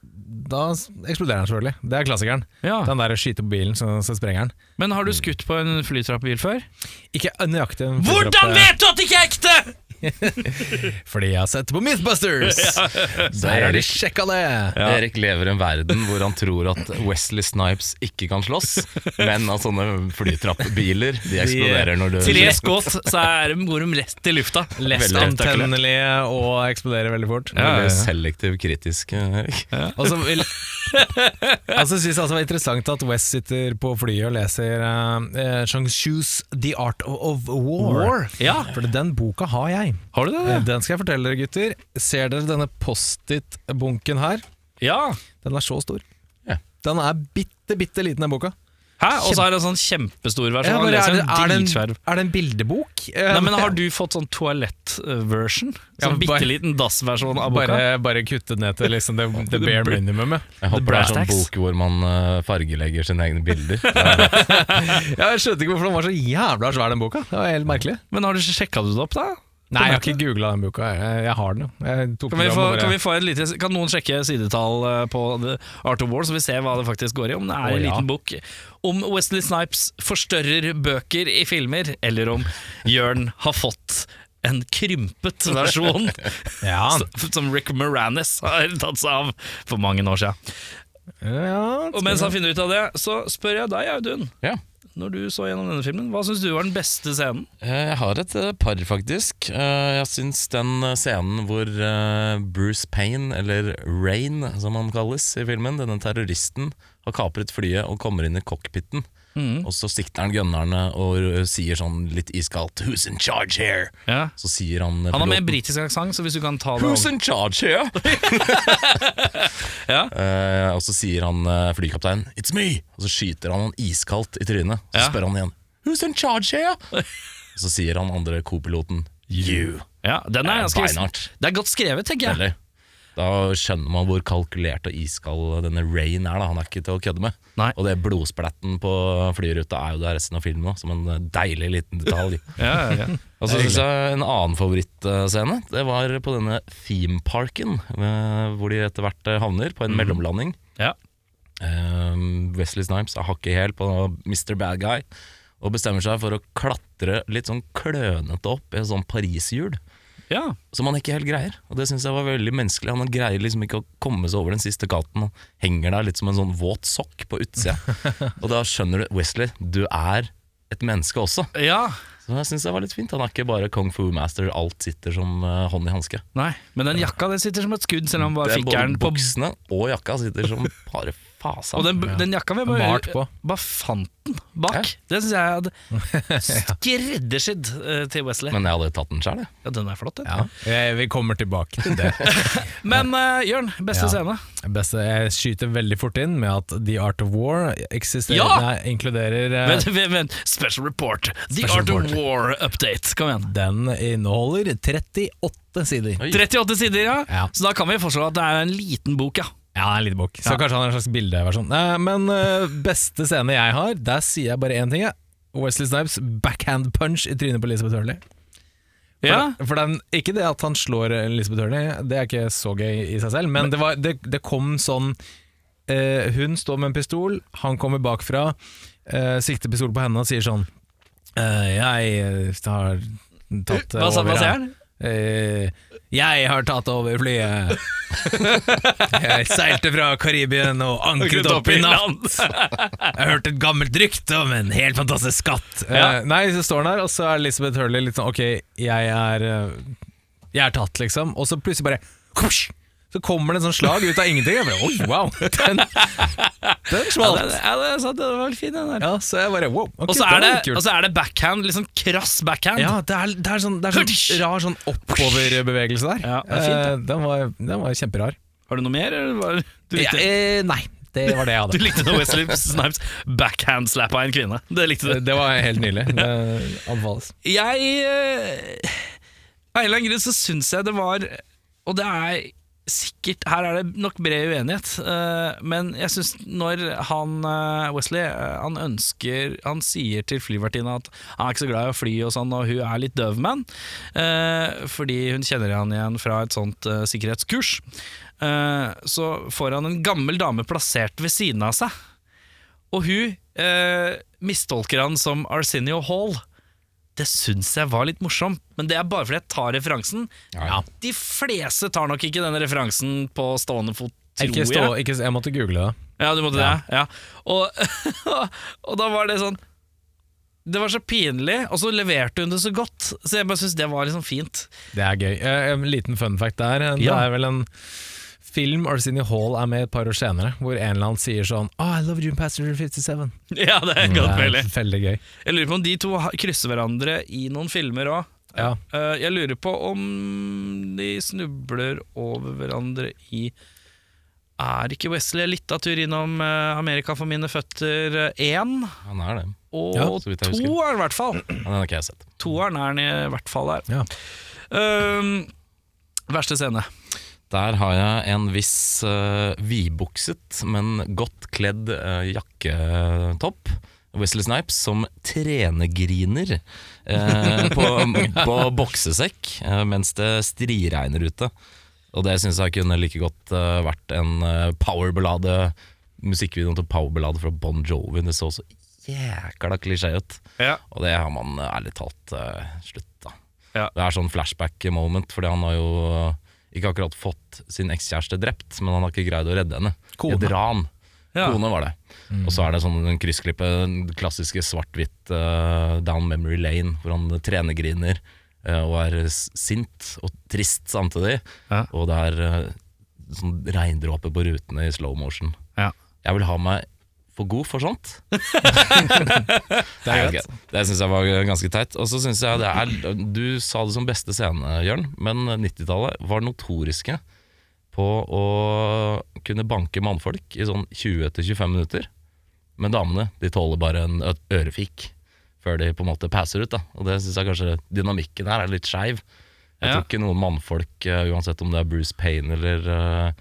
da s- eksploderer den selvfølgelig. Det er klassikeren. ja. Den der skyter på bilen, så, så sprenger den. Men har du skutt på en flytrappbil før? Ikke nøyaktig en Hvordan flytrapp, eh, vet du at det ikke er ekte?! Fordi jeg har sett på Mythbusters! Der har de sjekka det! Erik lever i en verden hvor han tror at Wesley Snipes ikke kan slåss, men at sånne flytrappbiler de eksploderer når du Tre skudd, så er, de- går de rett i lufta. Lest Veldig antennelige og eksploderer veldig fort. Veldig selektiv kritisk, eh, Erik. Og så vil- altså, synes jeg altså det var interessant at West sitter på flyet og leser eh, eh, Chang Shus The Art of, of War. Ja. For den boka har jeg. Har du Eh, det? Den skal jeg fortelle dere, gutter. Ser dere denne Post-It-bunken her? Ja. Den er så stor. Ja. Den er bitte, bitte liten, den boka. Hæ? Og så er det en sånn kjempestor versjon. Ja, Han bare, er, leser det, en er, det en, dritsvær- er det en bildebok? Eh, Nei, men Har du fått sånn toalett-version? Ja, Sånn bare- bitte liten dass-versjon av boka? bare, bare kutte ned til liksom det, Sånn det bare minimum. ja. Jeg håper det brass er sånn tacks. bok hvor man eh, fargelegger sine egne bilder. Ja, Jeg skjønte ikke hvorfor den var så jævla svær, den boka. Det var helt merkelig. Men har du sjekka du det opp, da? Nei, jeg har ikke googla den boka. Jeg, jeg har den jo. Jeg tok Kan, vi den få, fram og bare- kan, vi få et lite, kan noen sjekke sidetall eh, på The Art of War, så vi ser hva det faktisk går i? Om det er Å, en ja. liten bok om Wesley Snipes forstørrer bøker i filmer, eller om Jørn har fått en krympet versjon ja. s- som Rick Moranis har tatt seg av for mange år siden. ja, Og mens han finner ut av det, så spør jeg deg, Audun, ja. når du så gjennom denne filmen, hva syns du var den beste scenen? Eh, Jeg har et eh, par, faktisk. Eh, Jeg syns den eh, scenen hvor eh, Bruce Payne, eller Rain som han kalles i filmen, denne terroristen, har kapret flyet og kommer inn i cockpiten. Mm. Og så sikter han gunnerne og eh, sier sånn litt iskaldt 'Who's in charge here?' Ja. Så sier han eh, Han har med piloten, britisk aksent, så hvis du kan ta det Who's in charge here? Ja. Eh, og så sier han eh, flykapteinen 'It's me', og så skyter han han iskaldt i trynet. Så Ja. spør han igjen 'Who's in charge here?' og så sier han andre co-piloten 'You'. Ja, den er Eh, ganske beinhardt. Det er godt skrevet, tenker jeg. Veldig. Da skjønner man hvor kalkulert og iskald denne Rain er. da Han er ikke til å kødde med. Nei. Og det blodspletten på flyruta er jo der resten av filmen òg, som en deilig liten detalj. Ja, ja, ja. Og så synes jeg En annen favorittscene Det var på denne themeparken, eh, hvor de etter hvert eh, havner på en mellomlanding. ja. Um, Wesley Snipes er hakket hæl på Mr. Bad Guy og bestemmer seg for å klatre litt sånn klønete opp i en sånn pariserhjul. ja. Som han ikke helt greier, og det syns jeg var veldig menneskelig. Han greier liksom ikke å komme seg over den siste gaten. Han henger der litt som en sånn våt sokk på utsida. og da skjønner du, Wesley, du er et menneske også. ja. Så jeg syns det var litt fint. Han er ikke bare kung fu master, alt sitter som eh, hånd i hanske. Nei, men den jakka den sitter som et skudd, selv om han bare Det er fikk både den på buksene og jakka sitter som bare fasen. Og den, den jakka vi bare, Malt på. bare fant den bak. Ja. Det syns jeg hadde skreddersydd eh, til Wesley. Men jeg hadde tatt den sjæl, jeg. Ja, den er flott, den. Ja, jeg- vi kommer tilbake til det. Men eh, Jørn, beste Ja. scene? Beste, jeg skyter veldig fort inn med at The Art of War eksisterer, Ja! nei, inkluderer eh, Vent, vent, vent. Special report. The Special Art of report. War update. Kom igjen. Den inneholder 38 sider. Oi. 38 sider, ja. Ja. Så da kan vi forstå at det er en liten bok, ja. Ja, det er en liten bok. Så kanskje han er en slags bildeversjon. Eh, Men eh, beste scene jeg har, der sier jeg bare én ting. Jeg. Wesley Snipes backhand punch i trynet på Elizabeth Hurley. For, Ja, for den, Ikke det at han slår Elizabeth Hurley, det er ikke så gøy i seg selv, men det, var, det, det kom sånn eh, Hun står med en pistol, han kommer bakfra, eh, sikter pistol på henne og sier sånn eh, Jeg eh, har tatt eh, Hva sa over hva sier her.» han? Eh, jeg har tatt over flyet. Jeg seilte fra Karibien og ankret opp i natt. Jeg hørte et gammelt rykte om en helt fantastisk skatt. Ja. Eh, nei, så står han der, og så er Elizabeth Hurley litt sånn Ok, jeg er eh, Jeg er tatt, liksom. Og så plutselig bare kush, Så kommer det en sånn slag ut av ingenting. Jeg bare, Oi, wow! Den, den Ja, smalt. det, ja, det, er sant, det var veldig fin, den der. Ja, så jeg bare wow. ok, Og så er, den det, var kul. og så er det backhand, liksom krass backhand. ja, det er, det er sånn, det er sånn rar sånn oppoverbevegelse der. Ja, det er fint, Eh, den, var, den var kjemperar. Har du noe mer? Eller var, du, likte, Ja, eh, nei, det var det jeg du hadde. likte når Wesley Snipes backhand-slappa en kvinne. Det likte du. Det var helt nydelig. Det anbefales. Jeg eh, Av en eller annen grunn så syns jeg det var Og det er sikkert Her er det nok bred uenighet, eh, men jeg syns når han eh, Wesley eh, Han ønsker Han sier til flyvertinna at han er ikke så glad i å fly og sånn, og hun er litt døv med han, eh, fordi hun kjenner han igjen fra et sånt eh, sikkerhetskurs. Eh, Så får han en gammel dame plassert ved siden av seg, og hun eh, mistolker han som Arsenio Hall. Det syns jeg var litt morsomt, men det er bare fordi jeg tar referansen. Ja. De fleste tar nok ikke denne referansen på stående fot, tror Ikke stå, ikke, jeg måtte google det. jeg. Ja, du måtte det, ja. Og, og da var det sånn Det var så pinlig, og så leverte hun det så godt, så jeg bare syns det var liksom fint. Det er gøy. Eh, En liten fun fact der. Eh, Det Ja. er vel en film Arsenio Hall er med et par år senere, hvor en eller annen sier sånn oh, I love June Passenger 57. Ja, det er godt det mulig. er veldig gøy. Jeg lurer på om de to ha- krysser hverandre i noen filmer òg. Ja. Eh, jeg lurer på om de snubler over hverandre i Er ikke Wesley litt av tur innom eh, Amerika for mine føtter 1 Han er det. og Ja, så vidt jeg husker. toeren, i hvert fall? Men den har ikke jeg sett. Toeren er han i hvert fall der. Ja. Ehm, verste scene. Der har jeg en viss eh, vidbukset, men godt kledd eh, jakketopp. Wesley Snipes som trenegriner eh, på, på boksesekk eh, mens det striregner ute. Og det syns jeg kunne like godt eh, vært en eh, powerballade. Musikkvideoen til powerballade fra Bon Jovi. Det så så jækla klisjé ut. Ja. Og det har man eh, ærlig talt eh, slutta. Ja. Det er sånn flashback moment, fordi han har jo eh, ikke akkurat fått sin ekskjæreste drept, men han har ikke greid å redde henne. I Kone. et ran. Ja. Kone var det. Og så er det sånn en kryssklippe, den klassiske svart-hvitt eh, down memory lane, hvor han trenegriner eh, og er s- sint og trist samtidig. Ja. Og det er eh, sånn regndråper på rutene i slow motion. Ja. Jeg vil ha meg for god for sånt. Det er Nei, greit. ok. Det syns jeg var ganske teit. Og så syns jeg det er Du sa det som beste scene, Jørn, men 90-tallet var notoriske på å kunne banke mannfolk i sånn 20-25 minutter. Men damene de tåler bare en ø- ørefik før de på en måte passer ut. da Og det syns jeg kanskje dynamikken her er litt skeiv. Jeg Ja. tror ikke noen mannfolk, eh, uansett om det er Bruce Payne eller eh,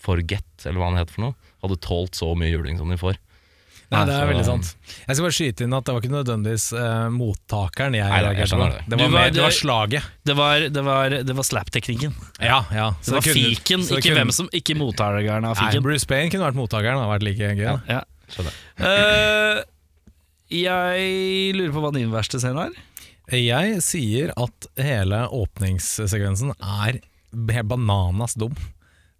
Forget, eller hva han heter for noe, hadde tålt så mye juling som de får. Nei, det er så- veldig sant. Jeg skal bare skyte inn at det var ikke nødvendigvis eh, mottakeren Nei, jeg nei, jeg reagerte på. skjønner det. Du Det var, sånn var- mer, det var det- slaget. Det var, det var, det var slap-teknikken. Ja, ja. Så Det var det kunne- fiken, så det ikke kunne- hvem som Ikke mottakeren av Nei, fiken. Bruce Payne kunne vært mottakeren. Det hadde vært like gøy. da. Ja. Skjønner. Eh, jeg lurer på hva din verste scene er. Jeg sier at hele åpningssekvensen er helt bananas dum.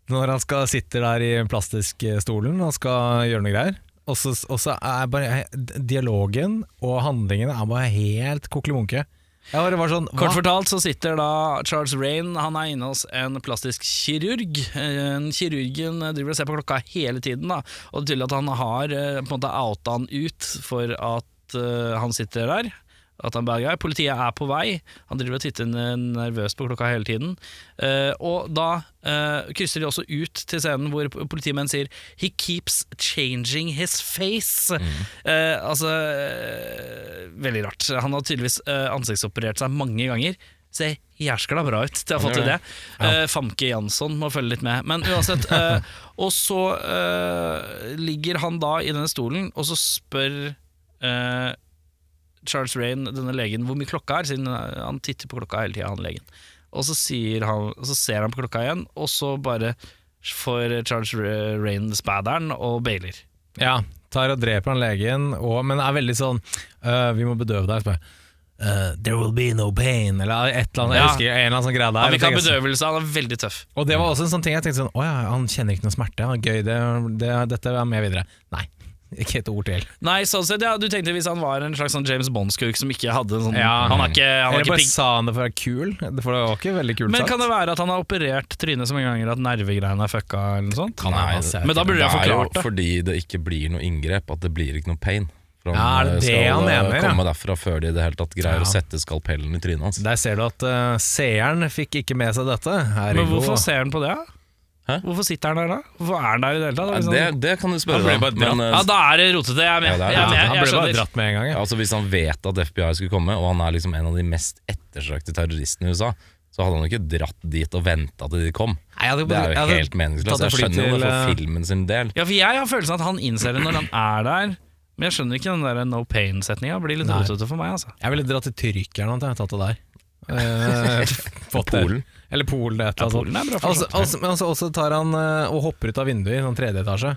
Når han skal sitter der i plastikkstolen og skal gjøre noe greier. Og så, og så er bare dialogen og handlingene er bare helt koklemunke. Jeg bare var sånn Kort hva? fortalt så sitter da Charles Rain Han er inne hos en plastisk kirurg. Eh, Kirurgen driver og ser på klokka hele tiden, da. og det er tydelig at han har eh, på en måte outa han ut for at eh, han sitter der. At han bad guy. Politiet er på vei, han driver og titter n- nervøst på klokka hele tiden. Eh, og da eh, krysser de også ut til scenen hvor p- politimenn sier 'He keeps changing his face'. Eh, altså eh, Veldig rart. Han har tydeligvis eh, ansiktsoperert seg mange ganger. Ser jæskla bra ut til å ha Han fått gjør til det. Eh, Famke Jansson må følge litt med. Men uansett. eh, og så eh, ligger han da i denne stolen, og så spør eh, Charles Rain, denne legen, hvor mye klokka er, siden eh, han titter på klokka hele tida, han legen. Og så, sier han, så ser han på klokka igjen, og så bare får Charles Ra- Rain spaderen og bailer. Ja, tar og dreper han legen, og, men er veldig sånn «Øh, Vi må bedøve deg. så bare, «Øh, there will be no pain, eller et eller annet. Ja. Jeg husker en eller annen sånn greie der. Han vil ikke Jeg ha tenker, bedøvelse, han er veldig tøff. Og det var også en sånn ting jeg tenkte sånn Å ja, han kjenner ikke noe smerte. Ja, gøy, det, det, dette er med videre. Nei. Ikke et ord til. Nei, sånn sett, ja, du tenkte hvis han var en slags sånn James Bond-skurk som ikke hadde en sånn Ja. Han er ikke, han er Eller ikke bare pigg. sa han det for å være kul, for det var ikke veldig kult Men sagt. kan det være at han har operert trynet så mange ganger at nervegreiene er fucka? eller noe sånt? Kan jeg- Nei, Men da burde Det jeg er jo forklart det. fordi det ikke blir noe inngrep, at det blir ikke noe pain. For Ja, er det eh, det skal, han eh, mener, ja? komme derfra før de i det hele tatt greier Ja. å sette skalpellen i trynet hans. Der ser du at eh, seeren fikk ikke med seg dette. altså. Ergo, Men hvorfor ser han på det? Hæ? Hvorfor sitter han der da? Hvorfor er han der i det hele tatt? Nei, Liksom? det, det kan du sånn- Han ble spørre deg bare om. Men, eh, Ja, da er det rotete. Jeg er med. Ja, det er Jeg ja, er med, Han jeg ble bare skjønner. dratt med en gang. Ja. altså, hvis han vet at FBI skulle komme, og han er liksom en av de mest etterstrakte terroristene i USA, så hadde han jo ikke dratt dit og venta til de kom. Nei, jeg hadde- Det er jeg jo hadde helt meningsløst. tatt et Jeg fly skjønner jo det til, eh, for filmen sin del. Ja, for jeg har følelsen at han innser det når han er der. Men jeg skjønner ikke den der no pain-setninga. Blir litt Nei. rotete for meg, altså. eh, Jeg ville dratt til Tyrkia eller noe, jeg tatt det der. Eh, fått det. Polen. Eller Polen, det et eller Polen annet. er bra sånt. for Altså, sånt. altså, men altså, også tar han eh, og hopper ut av vinduet i sånn tredje etasje.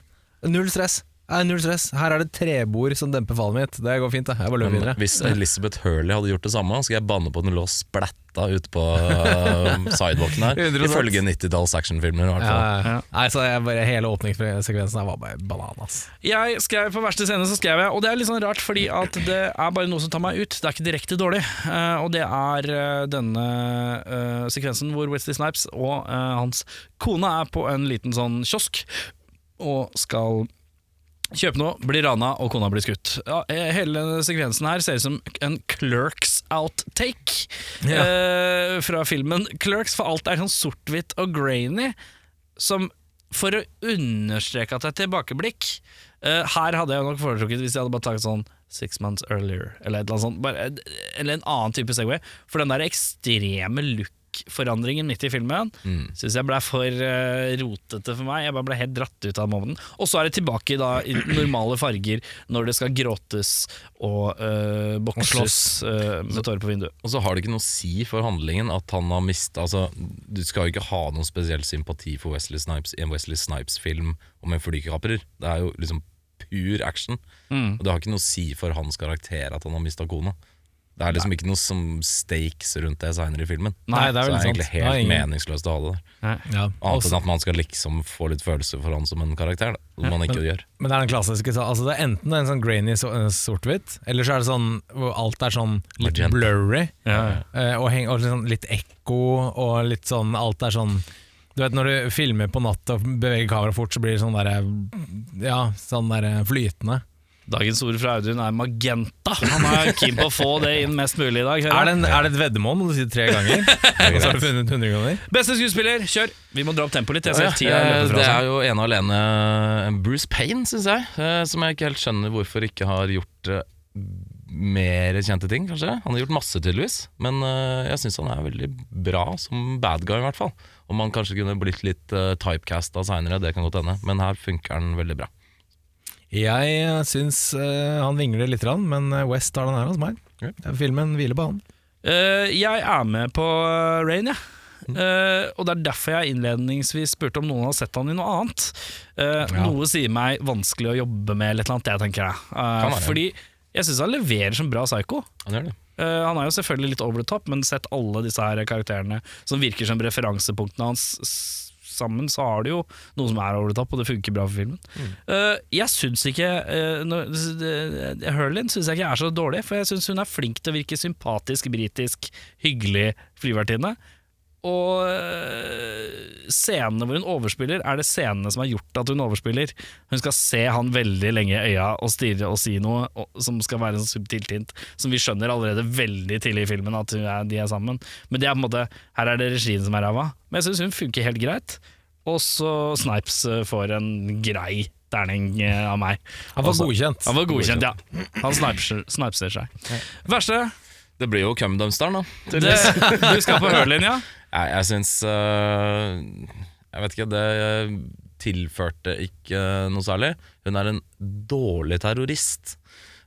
Null stress. Nei, null stress. Her er det trebord som demper fallet mitt. Det går fint, det. Jeg bare løper Men videre. hvis Elizabeth Hurley hadde gjort det samme, skal jeg banne på at hun lå splatta ute på uh, sidewalken her. 100%. Ifølge 90-talls actionfilmer, i hvert Ja, fall. ja. Ja. Nei, så jeg bare, hele åpningssekvensen her var bare bananas. Jeg skrev på verste scene, så skrev jeg, og det er litt sånn rart, fordi at det er bare noe som tar meg ut. Det er ikke direkte dårlig. Eh, og det er eh, denne eh, sekvensen hvor Wesley Snipes og eh, hans kone er på en liten sånn kiosk og skal Kjøpe noe, blir rana, og kona blir skutt. Ja, eh, hele denne sekvensen her ser ut som en Clerks outtake eh, fra filmen Clerks, for alt er sånn sort-hvitt og grainy. Som for å understreke at det er tilbakeblikk eh, Her hadde jeg nok foretrukket hvis jeg hadde bare tatt sånn Six months earlier, eller, et eller, annet sånt, bare, eh, eller en annen type Segway. For den der ekstreme look-forandringen midt i filmen Synes syns jeg ble for eh, rotete for meg. Jeg bare ble helt dratt ut av momenten. Og så er det tilbake da, i normale farger når det skal gråtes og uh, bokses eh, med tårer på vinduet. Og så har det ikke noe å si for handlingen at han har mista altså, Du skal jo ikke ha noen spesiell sympati for Wesley Snipes i en Wesley Snipes-film om en flykaprer. Det er jo liksom pur action. Mm. Og det har ikke noe å si for hans karakter at han har mista kona. Det er liksom ikke noe som stakes rundt det seinere i filmen. Nei, det er så det er vel sant. egentlig Det er helt ingen- meningsløst å ha det der. Ja. Annet Også, enn at man skal liksom få litt følelse for han som en karakter, da, som man ikke gjør. men det er den klassiske sa- altså Det er enten en sånn grainy so eh, sort-hvitt, eller så er det sånn hvor alt er sånn litt Magenta. blurry. Ja, eh, Og, heng, og litt sånn litt ekko, og litt sånn Alt er sånn Du vet når du filmer på natt og beveger kameraet fort, så blir det sånn derre Ja, sånn derre flytende. Dagens ord fra Audun er magenta. Han er keen på å få det inn mest mulig i dag. hører jeg. Er det, en, er det et veddemål når du sier det tre ganger? Og så har du funnet 100 kroner? Beste skuespiller, kjør! Vi må dra opp tempoet litt. Jeg Ja, ser ja. tida Eh, løper det fra seg. er jo ene og alene Bruce Payne, syns jeg. eh, Som jeg ikke helt skjønner hvorfor ikke har gjort eh, mer kjente ting, kanskje. Han har gjort masse, tydeligvis. Men eh, jeg syns han er veldig bra som bad guy, i hvert fall. Om han kanskje kunne blitt litt uh, typecasta seinere, det kan godt hende. Men her funker han veldig bra. Jeg syns eh, han vingler litt, grann, men eh, West har den her hos meg. Ja. Filmen hviler på han. Eh, jeg er med på eh, Rain, jeg. Eh, og det er derfor jeg innledningsvis spurte om noen har sett han i noe annet. Eh, Ja. Noe sier meg vanskelig å jobbe med, eller et eller annet, jeg tenker jeg. Eh, Kan være. fordi jeg syns han leverer som bra psycho. Han gjør det. Eh, han er jo selvfølgelig litt over the top, men sett alle disse her karakterene som virker som referansepunktene hans s- sammen, så har du jo noe som er over the top, og det funker bra for filmen. Eh, jeg syns ikke uh, Herlin syns jeg ikke er så dårlig, for jeg syns hun er flink til å virke sympatisk, britisk, hyggelig flyvertinne. Og eh, scenene hvor hun overspiller, er det scenene som har gjort at hun overspiller. Hun skal se han veldig lenge i øya og stirre og si noe og, som skal være en sånn subtilt hint, som vi skjønner allerede veldig tidlig i filmen at hun er, de er sammen. Men det er på en måte, her er det regien som er ræva. Men jeg syns hun funker helt greit. Og så Snipes eh, får en grei terning eh, av meg. Altså, Han var Også- godkjent. Han var godkjent, ja. Han sniper- snipser seg. Verste Det blir jo Cumdumpsteren, da. det, Du skal på hørelinja. Nei, jeg syns eh, Jeg vet ikke, det tilførte ikke noe særlig. Hun er en dårlig terrorist.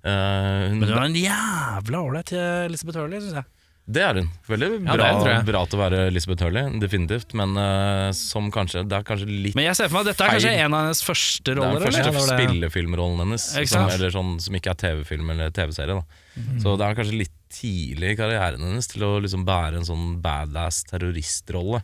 Eh, hun, Men hun er en jævla ålreit eh, Elisabeth Hurley, syns jeg. det er hun. Veldig bra, det er hun, tror jeg. bra til å være Elizabeth Hurley, definitivt. Men eh, som kanskje Det er kanskje litt Men jeg ser for meg at dette er kanskje Feil. en av hennes første det er roller. den eller? første eller? Ja, det var det. spillefilmrollen hennes, Ikke som, sant? eller sånn, som ikke er TV-film eller TV-serie. da Så det er kanskje litt tidlig i karrieren hennes til å liksom bære en sånn badass terroristrolle.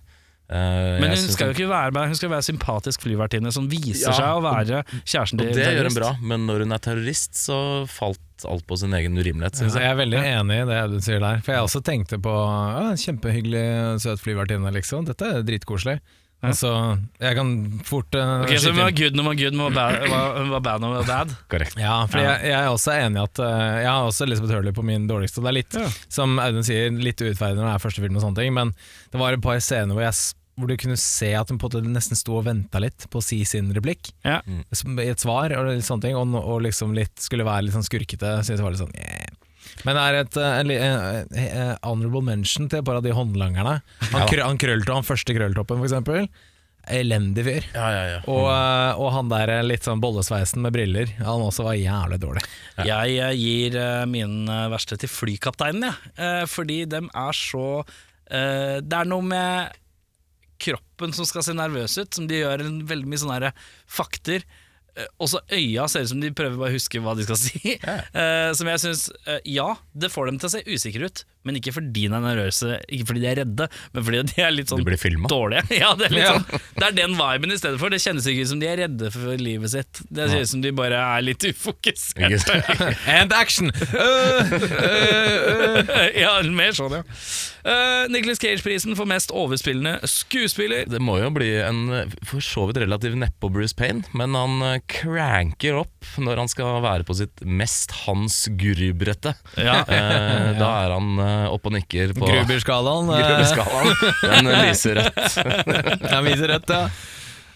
Eh, Men jeg hun synes skal jo ikke være med, hun skal være sympatisk flyvertinne som viser Ja, seg å være kjæresten til Og det gjør terrorist. hun bra, men når hun er terrorist, så falt alt på sin egen urimelighet, Så syns jeg. Jeg er veldig enig i det du sier der, for jeg også tenkte på ja, kjempehyggelig, søt flyvertinne, liksom. Dette er dritkoselig. Altså, jeg kan fort eh, Ok, så skyte hun var inn- good når hun var good, men hun var bad- var- hun var bad når hun var bad. Korrekt. Ja, for jeg, jeg er også enig i at eh, Jeg har også Elisabeth Hurley på min dårligste. og Det er litt, som Audun sier, litt urettferdig når det er første film, og sånne ting men det var et par scener hvor, jeg, s- hvor du kunne se at hun på en måte nesten sto og venta litt på å si sin replikk. Ja. Som- I et svar og litt sånne ting, og, og liksom litt skulle være litt sånn skurkete. Synes jeg var litt sånn eh. Men det er et eh, en, li- eh, eh, honorable mention til et par av de håndlangerne. Han, krø, han krølltopp, han første krølltoppen, for eksempel. Elendig fyr. Ja, ja, ja. Og, eh, og han der eh, litt sånn bollesveisen med briller, han også var jævlig dårlig. Jeg eh, gir eh, min eh, verste til flykapteinen, jeg. Eh, Fordi dem er så eh, Det er noe med kroppen som skal se nervøs ut, som de gjør en veldig mye sånne her fakter. Eh, Også øya ser ut som de prøver bare å huske hva de skal si. Eh, som jeg syns Ja, det får dem til å se usikre ut, men ikke fordi de er nervøse, ikke fordi de er redde, men fordi de er litt sånn De blir filmet. dårlige. Ja, det, er litt Ja. sånn, det er den viben i stedet for. Det kjennes ikke ut som de er redde for livet sitt. Det ser ut som de bare er litt ufokuserte. Ikke sant? And action! ja, mer sånn, ja. Eh, Nicolas Cage-prisen for mest overspillende skuespiller. Det må jo bli en eh, for så vidt relativt neppe Bruce Payne, men han eh, cranker opp når han skal være på sitt mest Hans Grubrette. Ja. Eh, da er han eh, opp og nikker på Gruberskalaen. eh, Gruberskalaen. Den eh, lyser rødt. Den viser rødt, ja.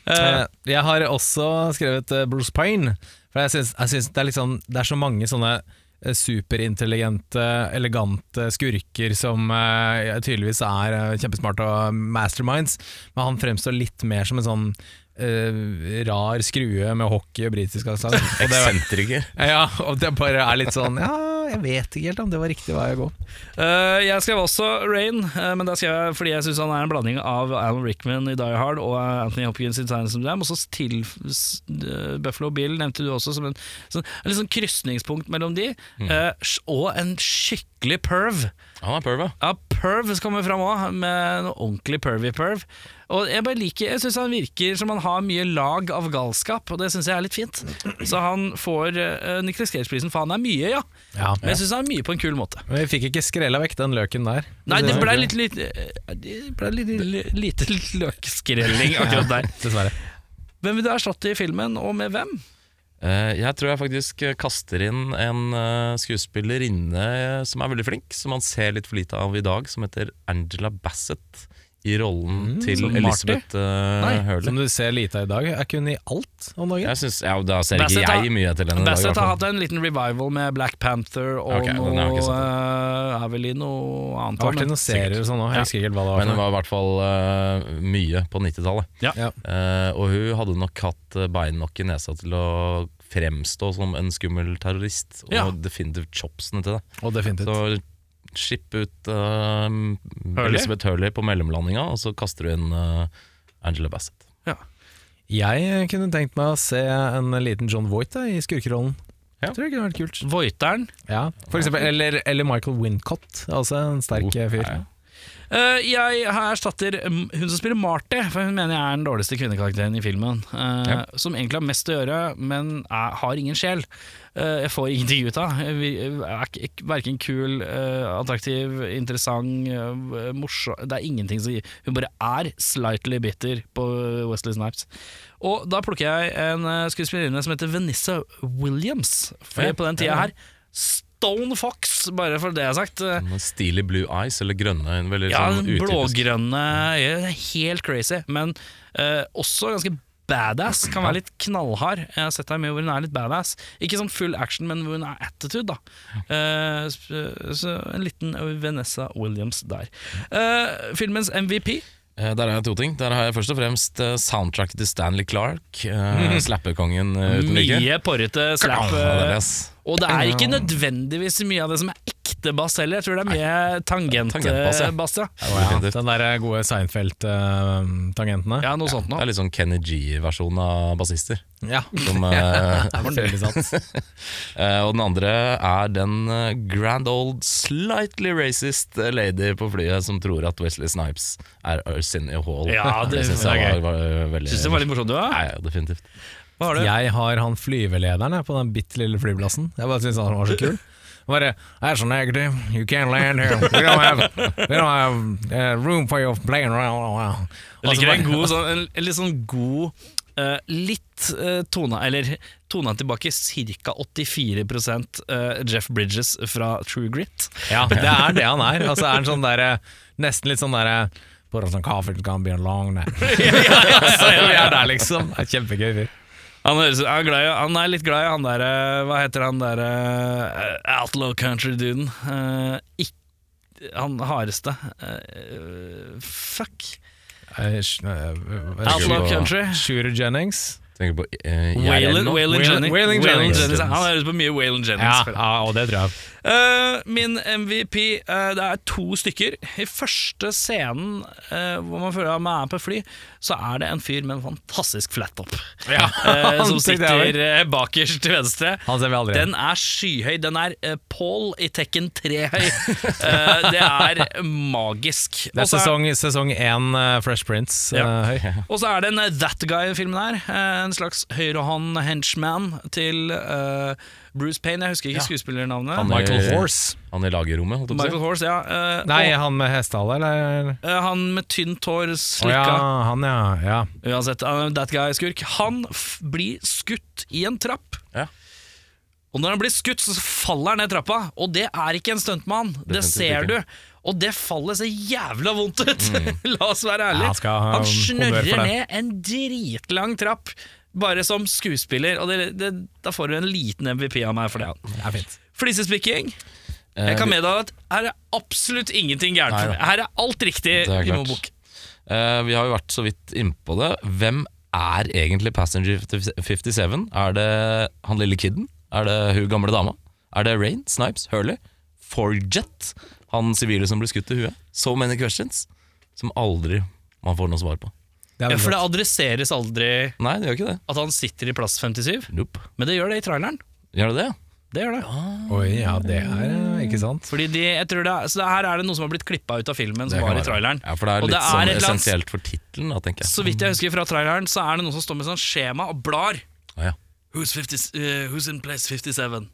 Eh, jeg har også skrevet eh, Bruce Payne. For jeg syns, jeg syns det, er liksom, det er så mange sånne eh, superintelligente, elegante skurker som eh, tydeligvis er eh, kjempesmarte og masterminds, men han fremstår litt mer som en sånn eh, rar skrue med hockey og britisk aksent. Og det- Eksentriker. Ja, og det bare er litt sånn Ja, jeg vet ikke helt om det var riktig vei å gå. Eh, jeg skrev også Rain, eh, men der skrev jeg fordi jeg syns han er en blanding av Alan Rickman i Die Hard og eh, Anthony Hopkins i Silence of the Lambs. Og så til s- eh, Buffalo Bill nevnte du også som en, sånn, en litt sånn krysningspunkt mellom de, eh, sj- og en skikkelig perv. Han er perva. Ja, perv som kommer fram òg, med noe ordentlig pervy perv. Og Jeg bare liker, jeg syns han virker som han har mye lag av galskap, og det syns jeg er litt fint. Så han får uh, Nicholas Cage-prisen, for han er mye, ja. Ja, Men jeg syns han er mye på en kul måte. Men vi fikk ikke skrella vekk den løken der. Nei, det ble litt, litt, eh, det ble litt, litt lite løkskrelling akkurat der. Dessverre. Hvem vil du erstatte i filmen, og med hvem? Eh, Jeg tror jeg faktisk eh, kaster inn en eh, skuespillerinne eh, som er veldig flink, som man ser litt for lite av i dag, som heter Angela Bassett i rollen Mm, til som Marty? Elisabeth uh, Som Hurley. du ser lite av i dag, er ikke hun i alt om dagen? Jeg synes, ja, da ser Bassett ikke har- jeg mye etter henne. i dag, i hvert Bassett har fall. hatt en liten revival med Black Panther og Ok, den har noe jeg ikke sett. eh, Er vel i noe annet. Det har vært i men- noen serier og sånn òg, jeg husker ikke helt hva det var. Men hun for noe. var i hvert fall eh, mye på 90-tallet. Ja. Eh, og hun hadde nok hatt eh, bein nok i nesa til å fremstå som en skummel terrorist. Og Ja. definitivt chopsene til det. Og definitivt. Så skipp ut eh, Elizabeth Hurley på mellomlandinga, og så kaster du inn eh, Angela Bassett. Ja. Jeg kunne tenkt meg å se en liten John Voight da, i skurkerollen. Ja. Tror det kunne vært kult. Voiteren. Ja, for eksempel, eller, eller Michael Wincott, altså en sterk Oh, fyr. nei. Eh, jeg her erstatter mm, hun som spiller Marty, for hun mener jeg er den dårligste kvinnekarakteren i filmen. eh, Ja. Som egentlig har mest å gjøre, men er, har ingen sjel. Eh, jeg får ingenting ut av. Jeg vir- er ikke- ikke- Verken kul, eh, attraktiv, interessant, eh, morsom Det er ingenting som gir Hun bare er slightly bitter på Wesley Snipes. Og da plukker jeg en eh, skuespillerinne som heter Venissa Williams, for Ja, på den tida her Stone Fox, bare for det jeg har sagt. eh, Noen Steely blue eyes, eller grønne. en Veldig ja, sånn utypisk. blågrønne øyne. det er Helt crazy. Men eh, også ganske badass. Kan være litt knallhard. Jeg har sett deg mye hvor hun er litt badass. Ikke sånn full action, men hvor hun er attitude, da. Eh, sp- så en liten Vanessa Williams der. Eh, filmens MVP. Eh, Der har jeg to ting. Der har jeg først og fremst eh, soundtracket til Stanley Clark. Uh, Slappekongen eh, uten like. Mhm. Mye porrete slap. Ja, det er eh, ass. Og det er ikke nødvendigvis mye av det som er ekte bass heller. Jeg tror det er mye Tangentbass, ja. tangentbass. Ja. Det var definitivt. Den der gode eh, Seinfeld-tangentene. ja, noe sånt Det noe. er litt sånn Kenny G-versjon av bassister. ja. Som, eh, Det var veldig sant. eh, og den andre er den eh, grand old, slightly racist eh, lady på flyet som tror at Wesley Snipes er Arsenio Hall. Ja, det synes var jeg gøy. var, var eh, veldig Syns det var litt morsomt, du Nei, òg? ja, definitivt. Hva har du? Jeg har han flyvelederen jeg, på den bitte lille flyplassen. Jeg bare syntes han var så kul. Han Bare, That's a negative. You can't land here. We don't have, we don't have eh, room for your plane. Jeg Liker liker en god sånn, en, en litt sånn god eh, Litt uh, tona Eller tona tilbake Cirka 84% eh, Jeff Bridges fra True Grit Ja, det er det han er. Altså er han sånn der, eh, Nesten litt sånn derre Put on some coffee, it's gonna be a long night. Så vi er der, liksom. Det er Kjempegøy fyr. han, høres, han, er glad i, han er litt glad i han der eh, Hva heter han der eh, Outlaw country-duden Eh, ikk- Han hardeste Eh, Fuck Eh, sj- eh, eh, Outlaw på- country Shooter Jennings. Tenker på eh, jeg er Waylon nå. Waylon Waylon- Jennings Waylon Waylon Jennings. Jennings. Han høres på mye Waylon Jennings Ja, føler jeg. ja, og det tror jeg. Eh, min MVP eh, Det er to stykker. I første scenen eh, hvor man føler at man er på fly, så er det en fyr med en fantastisk flattop Ja, eh, som han tenkte jeg sitter eh, bakerst til venstre. Han ser vi aldri. Den er skyhøy. Den er eh, Paul i Tekken 3 høy. Eh, det er magisk. det er Og så er- sesong, sesong én eh, Fresh Prince. eh, Ja. høy. og så er det en eh, That Guy-filmen her. eh, En slags høyrehånd-henchman til eh, Bruce Payne. Jeg husker ikke skuespillernavnet. Han er- Michael Horse. Han i lagerrommet, holdt jeg Michael på å Horse, si. ja. eh, Nei, og- han med hestehale, eller? Eh, Han med tynt hår, Å ja, slikka han, ja. ja. Uansett, eh, that guy er skurk. Han f blir skutt i en trapp. Ja. Og når han blir skutt, så faller han ned trappa. Og det er ikke en stuntmann. Det Definitivt ser du. ikke. Og det fallet ser jævla vondt ut! La oss være Mm. Ja, ærlige. han skal ha han honnør snørrer for det. ned en dritlang trapp, bare som skuespiller. Og det, det, da får du en liten MVP av meg for det. Det er fint. Flisespikking. Eh, Jeg kan meddele at her er absolutt ingenting gærent. Nei da. Her er alt riktig Det er i min klart. bok. Eh, vi har jo vært så vidt innpå det. Hvem er egentlig Passenger 57? Er det han lille kidden? Er det hun gamle dama? Er det Rain, Snipes, Hurley, Forjet? Han sivile som ble skutt i huet? So many questions som aldri man får noe svar på. Det er Ja, veldig for det flott. adresseres aldri Nei, det gjør ikke det. at han sitter i plass 57, Nope. men det gjør det i traileren. Gjør det det? ja? Det gjør det. Oi, ja, det er eh, Ikke sant? Fordi de, jeg tror det er, så det her er det noe som har blitt klippa ut av filmen som kan var i være. traileren. Ja, for det Og er litt det er sånn et eller annet- essensielt for tittelen, da, tenker jeg. Så vidt jeg husker fra traileren, så er det noen som står med sånn skjema og blar. Å, ja. Who's, 50, eh, who's in place 57?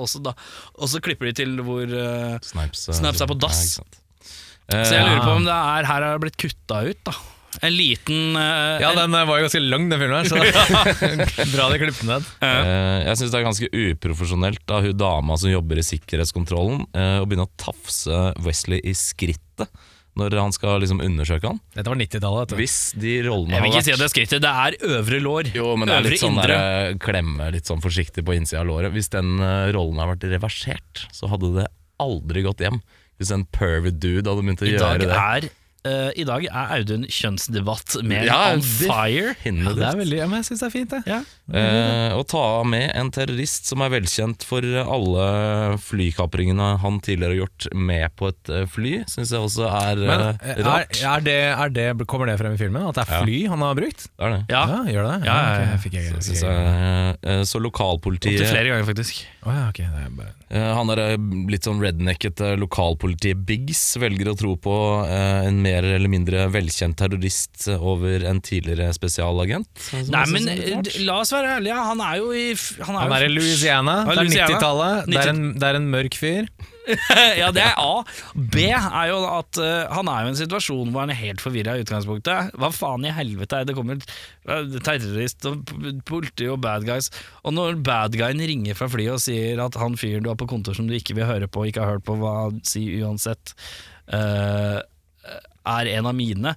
Og så, da, og så klipper de til hvor eh, Snipes, eh, Snipes er på dass. Ja, ikke sant. Eh, Så jeg lurer på om det er her har det blitt kutta ut, da. En liten eh, Ja, en- den eh, var jo ganske lang, den filmen her, så bra de klippet ned. Eh, Jeg synes det er ganske uprofesjonelt av hun dama som jobber i sikkerhetskontrollen eh, å begynne å tafse Wesley i skrittet når han skal liksom undersøke han. Dette var 90-tallet. vet du. Hvis de rollene Jeg har vil ikke vært si at det er skrittet, det er øvre lår. Jo, men det er øvre litt sånn indre. der, klemme litt sånn forsiktig på innsida av låret. Hvis den eh, rollen har vært reversert, så hadde det aldri gått hjem. Hvis en pervert dude hadde begynt å I dag gjøre det. er eh, I dag er Audun kjønnsdebatt med Ja, on definitivt. fire. Ja, det er veldig, ja, men jeg syns det er fint, det. Ja. Eh, å ta med en terrorist som er velkjent for alle flykapringene han tidligere har gjort med på et eh, fly, syns jeg også er Men eh, er, rart. er det, er det, kommer det frem i filmen? At det er fly han har brukt? Det er det. Ja, Ja, gjør det? Ja, ja, ok, ja. fikk jeg, Så fikk synes jeg. jeg, eh, så Opptil lokalpolitiet flere ganger, faktisk. Å ja, ok, det er bare... Eh, Han er eh, litt sånn rednecket eh, lokalpolitiet Biggs velger å tro på eh, en mer eller mindre velkjent terrorist over en tidligere spesialagent. som Nei, jeg synes men er litt rart. eh, la oss være ærlige, han er jo i f- jo- Han er i Louisiana. Han er Det er Louisiana. 90-tallet. Det, er en- det er en mørk fyr. ja, det er A. B er jo at eh, han er jo i en situasjon hvor han er helt forvirra i utgangspunktet. Hva faen i helvete er det? Det kommer eh, terrorist og p- politi og bad guys. Og når bad guyen ringer fra flyet og sier at han fyren du har på kontor som du ikke vil høre på, ikke har hørt på hva han sier uansett, eh, er en av mine.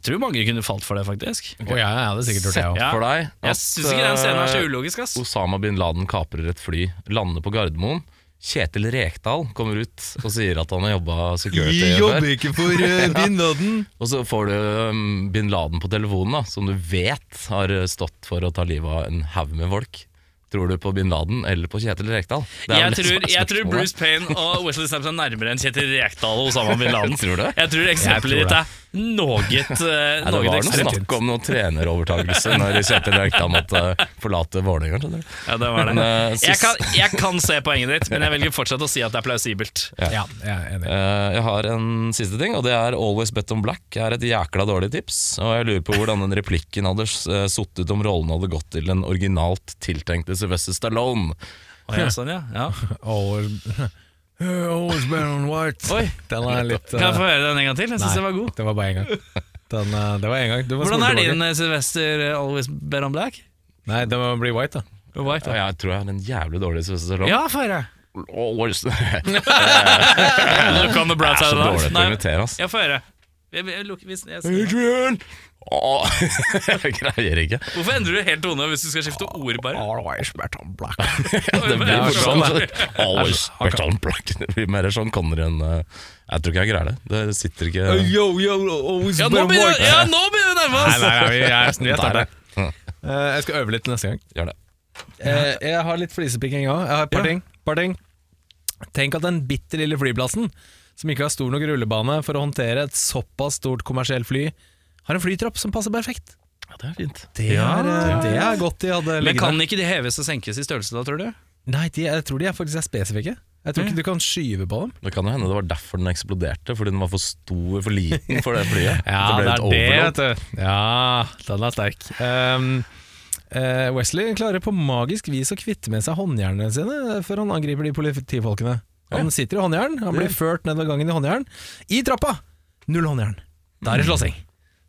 Jeg tror mange kunne falt for det, faktisk. Å ja, jeg hadde sikkert gjort det òg. Ja. For deg Jeg syns ikke den scenen eh, er så ulogisk, ass. Osama bin Laden kaprer et fly, lander på Gardermoen. Kjetil Rekdal kommer ut og sier at han har jobba security før. ikke for uh, bin Laden! Og så får du um, bin Laden på telefonen, da, som du vet har uh, stått for å ta livet av en haug med folk. Tror du på bin Laden eller på Kjetil Rekdal? Det er vel Jeg det som tror, er jeg tror spørsmålet. Bruce Payne og Wesley Snipes er nærmere enn Kjetil Rekdal og Osama bin Laden. Tror du det? Jeg tror eksempelet Jeg tror ditt er noe eh, Nei, det noe var noe sånn, ekstremt. snakk om noe trenerovertagelse når Kjetil Rekdal måtte forlate Vålerenga. skjønner du? Ja, det var det. Men, eh, Jeg sist- kan, jeg kan se poenget ditt, men jeg velger fortsatt å si at det er plausibelt. Ja, jeg er enig. Eh, jeg har en siste ting, og det er Always Bet on Black. er et jækla dårlig tips. Og jeg lurer på hvordan den replikken hadde uh, sittet ut om rollen hadde gått til den originalt tiltenkte Sylvester Stallone. Å, ja, sånn, ja. Ja. Always, always been on white. Oi. Den er litt Kan jeg eh, få høre den en gang til? Jeg syns den var Nei, god. det var bare én gang. Den, eh, det var en gang. Du må Hvordan spole er tilbake. din eh, Sylvester eh, Always Bet on Black? Nei, den må bli white, da. Og White, Ja, da? jeg tror jeg har en jævlig dårlig Sylvester Stallone. Ja, få høre. Always Look on the bright Det er side så of dårlig life. til å Nei, imitere, ass. Ja, få høre. Jeg- jeg lukker- hvis- jeg- Adrian! Åh, jeg greier ikke. Hvorfor endrer du helt tone hvis du skal skifte ord, bare? Always bet on black. Det blir Ja, morsomt. sånn, Always bet on black. Det blir mer sånn Connery enn eh, Jeg tror ikke jeg greier det. Det sitter ikke Yo, yo, always Ja, nå begynner ja, nå begynner vi å nærme Nei, oss! nei, nei, vi er vi er Der, der. Eh, Jeg skal øve litt neste gang. Gjør det. Eh, jeg har litt flisepikking òg. Jeg har et par, Ja. ting, par ting. Tenk at den bitte lille flyplassen, som ikke har stor nok rullebane for å håndtere et såpass stort kommersielt fly, har en flytropp som passer perfekt. Ja, det er fint. Det er, eh, det er godt de hadde Men liggende. kan ikke de heves og senkes i størrelse da, tror du? Nei, de, jeg tror de er faktisk er spesifikke. Jeg tror ikke du kan skyve på dem. Det kan jo hende det var derfor den eksploderte, fordi den var for stor, for liten for det flyet. vet du. Ja, den er sterk. Um, eh, Wesley klarer på magisk vis å kvitte med seg håndjernene sine før han angriper de politifolkene. Han sitter i håndjern, han blir ført nedover gangen i håndjern. I trappa! Null håndjern. Da er det slåssing.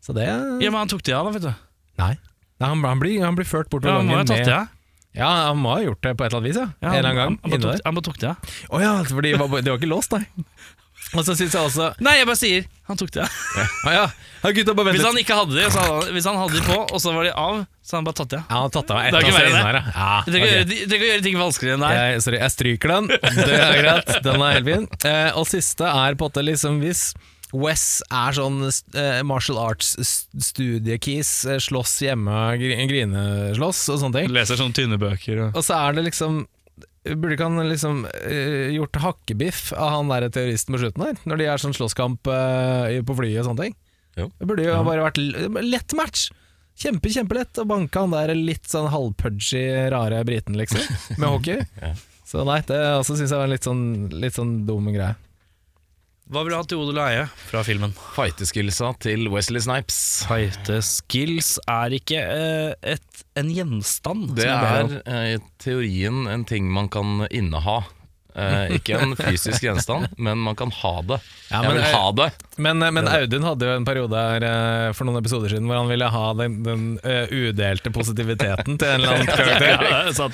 Så det Mm. Ja, men han tok de av, da, vet du. Nei. Nei han, han, blir, han blir ført Ja, bortover han må ha gangen tatt de av. Ja, han må ha gjort det på et eller annet vis, ja. Ja, en eller han- annen han gang. bare Inne tok- der. Han bare tok de av. Å ja, for de var, de var ikke låst, nei. Og så syns jeg også Nei, jeg bare sier han tok de av. Å ja, ja, gutta bare Hvis vent han ikke hadde de, så hadde han, hvis han hadde de på, og så var de av, så hadde han bare tatt de av. Ja, han har tatt av Det er ett av ikke seg verre inn enn her, det. ja. Du trenger ikke ok. gjøre- du trenger ikke gjøre ting vanskeligere enn det her. Jeg, sorry, jeg stryker den. Det er greit. Den er helt fin. Eh, og siste er på at det liksom hvis Wes er sånn eh, martial arts-studiekis, eh, slåss hjemme, gr- grineslåss og sånne ting. Leser sånne tynne bøker og Og så er det liksom Burde ikke han liksom eh, gjort hakkebiff av han der terroristen på slutten her? Når de er sånn slåsskamp eh, i- på flyet og sånne ting? Jo. Det burde jo bare vært l- lett match! Kjempe, kjempelett å banke han der litt sånn halvpudgy, rare briten, liksom, med hockey. Så nei, det også syns jeg var en litt sånn, litt sånn dum greie. Hva vil du ha til odel og eie fra filmen? Fighterskillsa til Wesley Snipes. Fighte skills er ikke eh, et, en gjenstand. Det som jeg ber om. er eh, i teorien en ting man kan inneha. Eh, ikke en fysisk gjenstand, men man kan ha det. Ja, jeg men vil jeg- ha det. Men, eh, men Audun hadde jo en periode her eh, for noen episoder siden hvor han ville ha den, den eh, udelte positiviteten til en eller annen karakter. Eh, så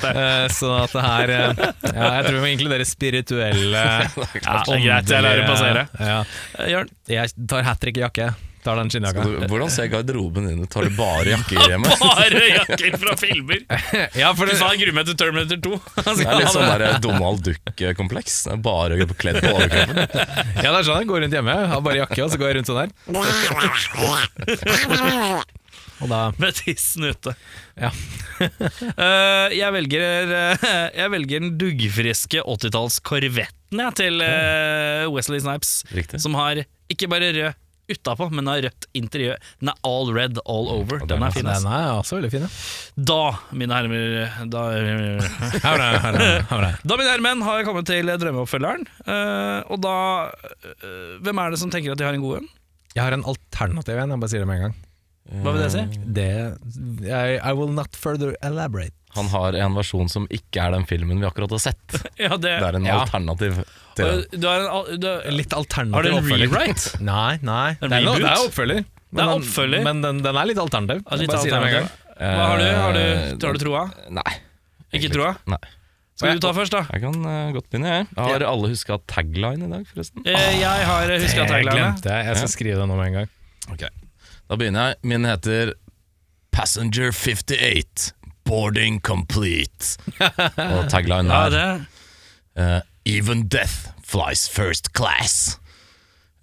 at det her eh, ja, Jeg tror vi må inkludere spirituelle eh, Ja, det er greit, jeg lar det passere. Ja. Eh, Jørn, Jeg tar hat trick-jakke. Tar den Skal skinnjakka. Du, hvordan ser garderoben din ut? Har du bare jakker hjemme? bare jakker fra filmer! Ja, for Du det, sa han gruer meg til Terminator 2. Han Det skal er litt ha sånn der Donald Duck-kompleks. Det er Bare kledd på overkroppen. ja, det er sånn jeg går rundt hjemme. Jeg har bare jakke, og så går jeg rundt sånn her. Og da med tissen ute. Ja. Eh, jeg, velger, eh, jeg velger den duggfriske 80-talls korvetten jeg, til eh, Wesley Snipes. Riktig. Som har ikke bare rød utapå, men har rødt interiør. Den er all red all over. Den er fin. Den ass. er også veldig fin, ja. Da, mine hermer Da, Her er det, her er det, her er det. da mine hermen, har jeg kommet til drømmeoppfølgeren. Eh, og da eh, Hvem er det som tenker at de har en god en? Jeg har en alternativ en, jeg bare sier det med en gang. Hva vil det si? Det I, I will not further elaborate. Han har en versjon som ikke er den filmen vi akkurat har sett. Ja, det, Det er en Ja. alternativ til den. Og du har en, al- du, Litt alternativ Har du en oppfølger. rewrite? Nei, nei. En det, er noe, reboot? det er oppfølger. Men Det er den- oppfølger? Men den, den er litt alternativ. Ja, Altså, litt Bare si det med en gang. alternativ. Hva har du? Har Eh, Eh, du, har du troa? Nei. Ikke egentlig troa? Nei. Skal du ta først, da? Jeg kan eh, godt begynne, jeg. Har alle huska tagline i dag, forresten? Eh, Jeg har huska Jeg tagline. glemte det. Jeg skal skrive det nå med en gang. Ok, Da begynner jeg. Min heter Passenger 58. Boarding complete. Og tagline Ja, er det. Eh, Even death flies first class.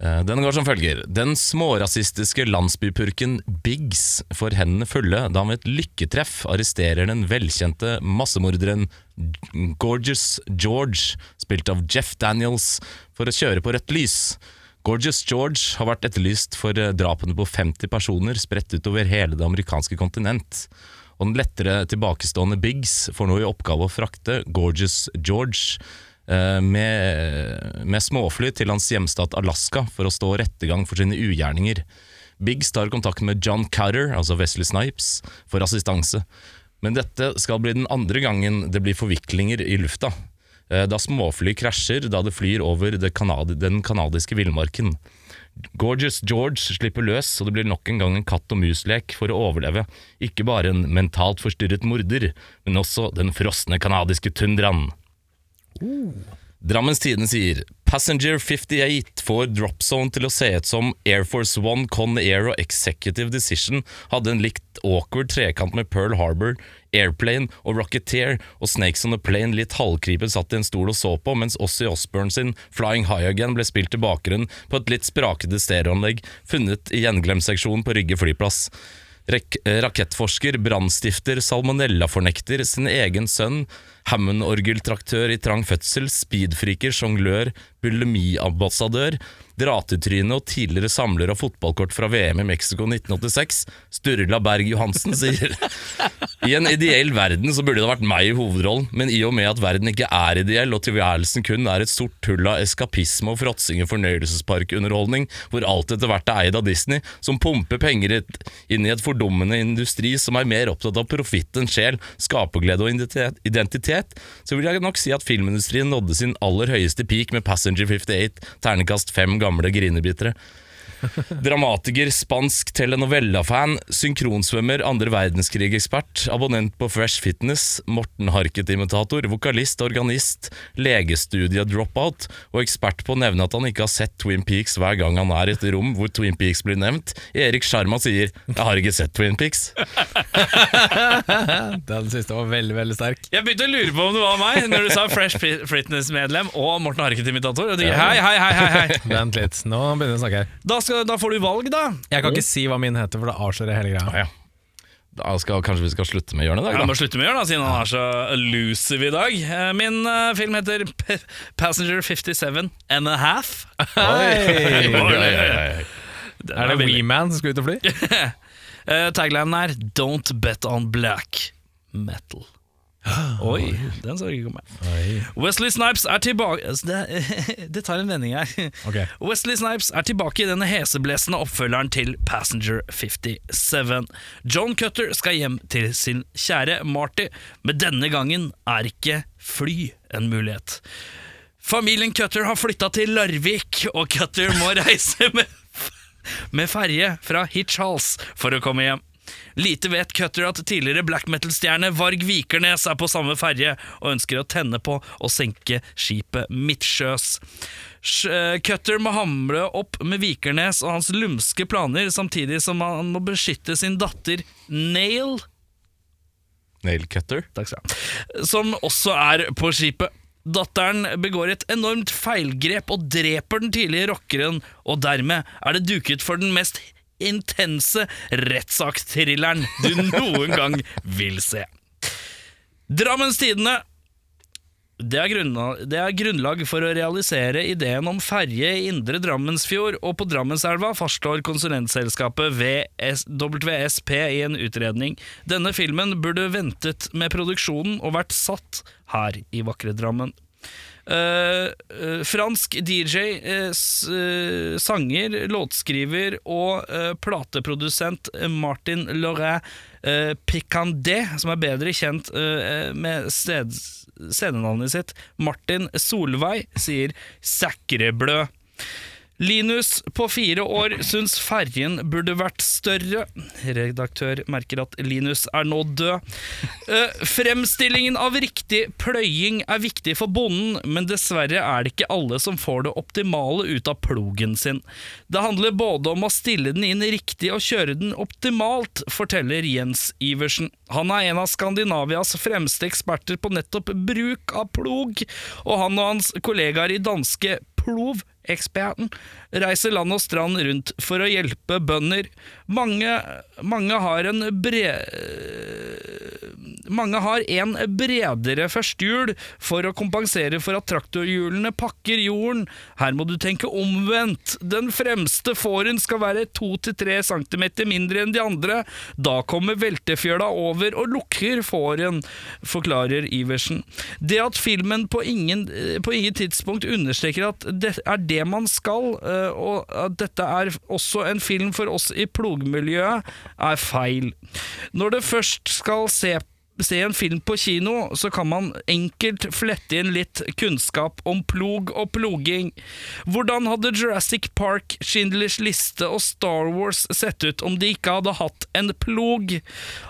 Eh, Den går som følger. Den smårasistiske landsbypurken Biggs får hendene fulle da han ved et lykketreff arresterer den velkjente massemorderen Gorgeous George, spilt av Jeff Daniels, for å kjøre på rødt lys. Gorgeous George har vært etterlyst for eh, drapene på 50 personer spredt utover hele det amerikanske kontinent. Og den lettere tilbakestående Biggs får nå i oppgave å frakte Gorgeous George eh, med, med småfly til hans hjemstat Alaska for å stå rettergang for sine ugjerninger. Biggs tar kontakt med John Carter, altså Wesley Snipes, for assistanse. Men dette skal bli den andre gangen det blir forviklinger i lufta. eh, Da småfly krasjer da det flyr over det kanadi den kanadiske villmarken. Gorgeous George slipper løs, og det blir nok en gang en katt og mus-lek for å overleve. Ikke bare en mentalt forstyrret morder, men også den frosne kanadiske tundraen. Drammens Tidende sier Passenger 58 får dropzone til å se ut som Air Force One, Con Air og Executive Decision hadde en likt awkward trekant med Pearl Harbor, Airplane og Rocketeer, og Snakes on a Plane litt halvkripet satt i en stol og så på, mens Ossie Osbourne sin Flying High Again ble spilt til bakgrunn på et litt sprakete stereoanlegg funnet i gjenglemseksjonen på Rygge flyplass. Rek eh, rakettforsker, brannstifter, salmonellafornekter, sin egen sønn, Hammond-orgeltraktør i trang fødsel, speedfriker, sjonglør, bulimiambassadør, dratetryne og tidligere samler av fotballkort fra VM i Mexico 1986, Sturla Berg Johansen, sier i en ideell verden så burde det vært meg i hovedrollen, men i og med at verden ikke er ideell, og tilværelsen kun er et sort hull av eskapisme og fråtsing i fornøyelsesparkunderholdning, hvor alt etter hvert er eid av Disney, som pumper penger i et- inn i et fordummende industri som er mer opptatt av profitt enn sjel, skaperglede og identitet- identitet, så vil jeg nok si at filmindustrien nådde sin aller høyeste peak med Passenger 58, ternekast fem gamle grinebitere. Dramatiker, spansk telenovella-fan, synkronsvømmer, andre verdenskrig-ekspert, abonnent på Fresh Fitness, Morten Harket-imitator, vokalist, organist, legestudie-dropout og ekspert på å nevne at han ikke har sett Twin Peaks hver gang han er i et rom hvor Twin Peaks blir nevnt. Erik Sjarma sier 'Jeg har ikke sett Twin Peaks'. Den siste var veldig, veldig sterk. Jeg begynte å lure på om det var meg når du sa Fresh Fit- Fitness-medlem og Morten Harket-imitator. Og du, Hei, hei, hei, hei, hei. Vent litt, nå begynner vi å snakke her. Da, skal, da får du valg, da. Jeg kan ikke si hva min heter, for det avslører hele greia. Ah, ja. Da skal, kanskje vi skal slutte med hjørnet i Jeg dag, må da? slutte med å gjøre det, siden han er så elusive i dag. Eh, Min eh, film heter P Passenger 57 and a half. Hei! Oi, oi, oi, oi. Er det Weeman som skal ut og fly? Eh, Taglinen er Don't bet on black metal. Oi, den så jeg ikke komme. Wesley Snipes er tilbake altså, det, det tar en vending her. Ok. Wesley Snipes er tilbake i denne heseblesende oppfølgeren til Passenger 57. John Cutter skal hjem til sin kjære Marty, men denne gangen er ikke fly en mulighet. Familien Cutter har flytta til Larvik, og Cutter må reise med, med ferje fra Hitchhals for å komme hjem. Lite vet Cutter at tidligere black metal-stjerne Varg Vikernes er på samme ferje og ønsker å tenne på og senke skipet midtsjøs. Sj- eh, Cutter må hamle opp med Vikernes og hans lumske planer, samtidig som han må beskytte sin datter Nail Nailcutter. Takk skal du ha. Som også er på skipet. Datteren begår et enormt feilgrep og dreper den tidlige rockeren, og dermed er det duket for den mest intense rettssaksthrilleren du noen gang vil se. Drammens Tidende. Det er, grunna, det er grunnlag for å realisere ideen om ferje i indre Drammensfjord, og på Drammenselva fastslår konsulentselskapet VS, WSP i en utredning. Denne filmen burde ventet med produksjonen og vært satt her i vakre Drammen. Eh, eh, fransk DJ, eh, s, eh, sanger, låtskriver og eh, plateprodusent Martin Laurin eh, Picandet, som er bedre kjent eh, med sted, scenenavnet sitt, Martin Solveig, sier 'Sækreblø'. Linus på fire år syns ferjen burde vært større. Redaktør merker at Linus er nå død. Eh, fremstillingen av riktig pløying er viktig for bonden, men dessverre er det ikke alle som får det optimale ut av plogen sin. Det handler både om å stille den inn riktig og kjøre den optimalt, forteller Jens Iversen. Han er en av Skandinavias fremste eksperter på nettopp bruk av plog, og han og hans kollegaer i danske Plov eksperten, reiser land og strand rundt for å hjelpe bønder. Mange, mange har en bre... Mange har en bredere førstehjul for å kompensere for at traktorhjulene pakker jorden. Her må du tenke omvendt. Den fremste fåren skal være 2-3 cm mindre enn de andre. Da kommer veltefjøla over og lukker fåren, forklarer Iversen. Det at filmen på ingen, eh, på ingen tidspunkt understreker at det er det man skal, eh, og at dette er også en film for oss i plogmiljøet, er feil. Når det først skal se Se en film på kino, så kan man enkelt flette inn litt kunnskap om plog og ploging. Hvordan hadde Jurassic Park, Schindlers liste og Star Wars sett ut om de ikke hadde hatt en plog?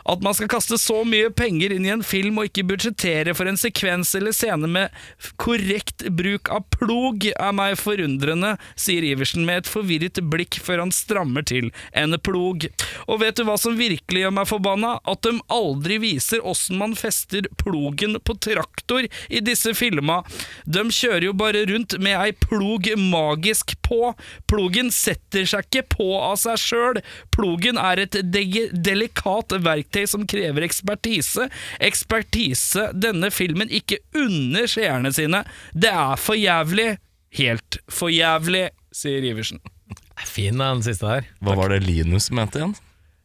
At man skal kaste så mye penger inn i en film og ikke budsjettere for en sekvens eller scene med f- korrekt bruk av plog, er meg forundrende, sier Iversen med et forvirret blikk før han strammer til en plog. Og vet du hva som virkelig gjør meg forbanna? At de aldri viser åssen man fester plogen på traktor i disse filma. De kjører jo bare rundt med ei plog magisk på. Plogen setter seg ikke på av seg sjøl. Plogen er et dege- delikat verktøy som krever ekspertise. Ekspertise denne filmen ikke unner seerne sine. Det er for jævlig. Helt for jævlig, sier Iversen. Det er Fin da, den siste der. Hva var det Linus mente igjen?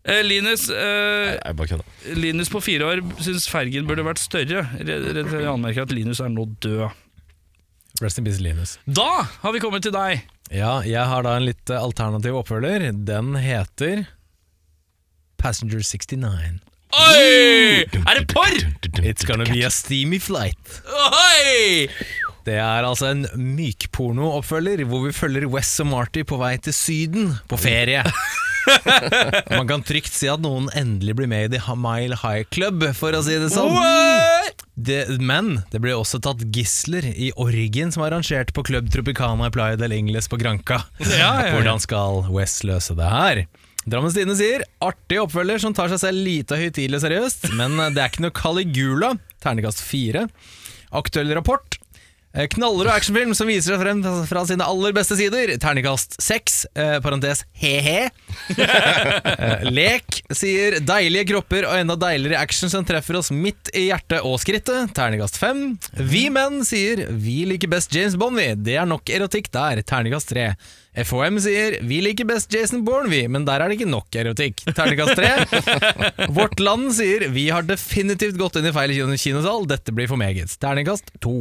Eh, Linus, eh, Jeg bare kødda. Linus på fire år syns fergen burde vært større. Redaktør anmerker at Linus er nå død. Rest in peace, Linus. Da har vi kommet til deg! Ja, jeg har da en litt eh, alternativ oppfølger. Den heter Passenger 69. Oi! Er det porr?! It's gonna be a steamy flight. Oi! Det er altså en mykporno-oppfølger hvor vi følger Wes og Marty på vei til Syden på ferie. Man kan trygt si at noen endelig blir med i The Mile High Club, for å si det sånn. Det, men det ble også tatt gisler i orgien som er arrangert på Club Tropicana i Playa del Ingles på Granca. ja, ja. Hvordan skal Wes løse det her? Drammens Tidende sier artig oppfølger som tar seg selv lite høytidelig og seriøst, men det er ikke noe Caligula. Ternekast fire. Aktuell rapport. Eh, Knaller og actionfilm som viser seg frem fra sine aller beste sider. Ternekast seks, eh, parentes he-he. Eh, Lek sier deilige kropper og enda deiligere action som treffer oss midt i hjertet og skrittet. Terningkast fem. Vi menn sier vi liker best James Bond, vi. Det er nok erotikk der. Terningkast tre. FOM sier vi liker best Jason Bourne, vi, men der er det ikke nok erotikk. Terningkast tre. Vårt Land sier vi har definitivt gått inn i feil kino- kinosal, dette blir for meget. Terningkast to.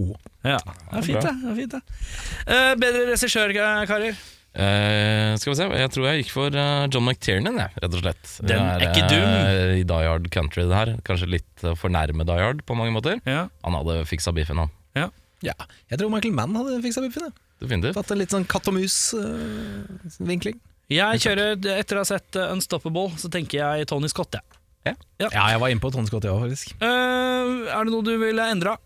Ja, det er fint, det. det, er fint, det. Eh, bedre regissør, eh, karer. Eh, skal vi se, jeg tror jeg gikk for eh, John McTiernan, jeg, rett og slett. Den er Jeg ikke eh, I Die Hard Country, det her. Kanskje litt eh, for nærme Die Hard på mange måter. Ja. Han hadde fiksa biffen, han. Ja. Ja, jeg tror Michael Mann hadde fiksa biffen. jeg. Definitivt. Tatt en litt sånn eh, katt og mus-vinkling. Jeg kjører, Etter å ha sett eh, Unstoppable, så tenker jeg Tony Scott. jeg. ja, jeg var inne på Tony Scott, jeg òg, faktisk. Eh, er det noe du ville endra?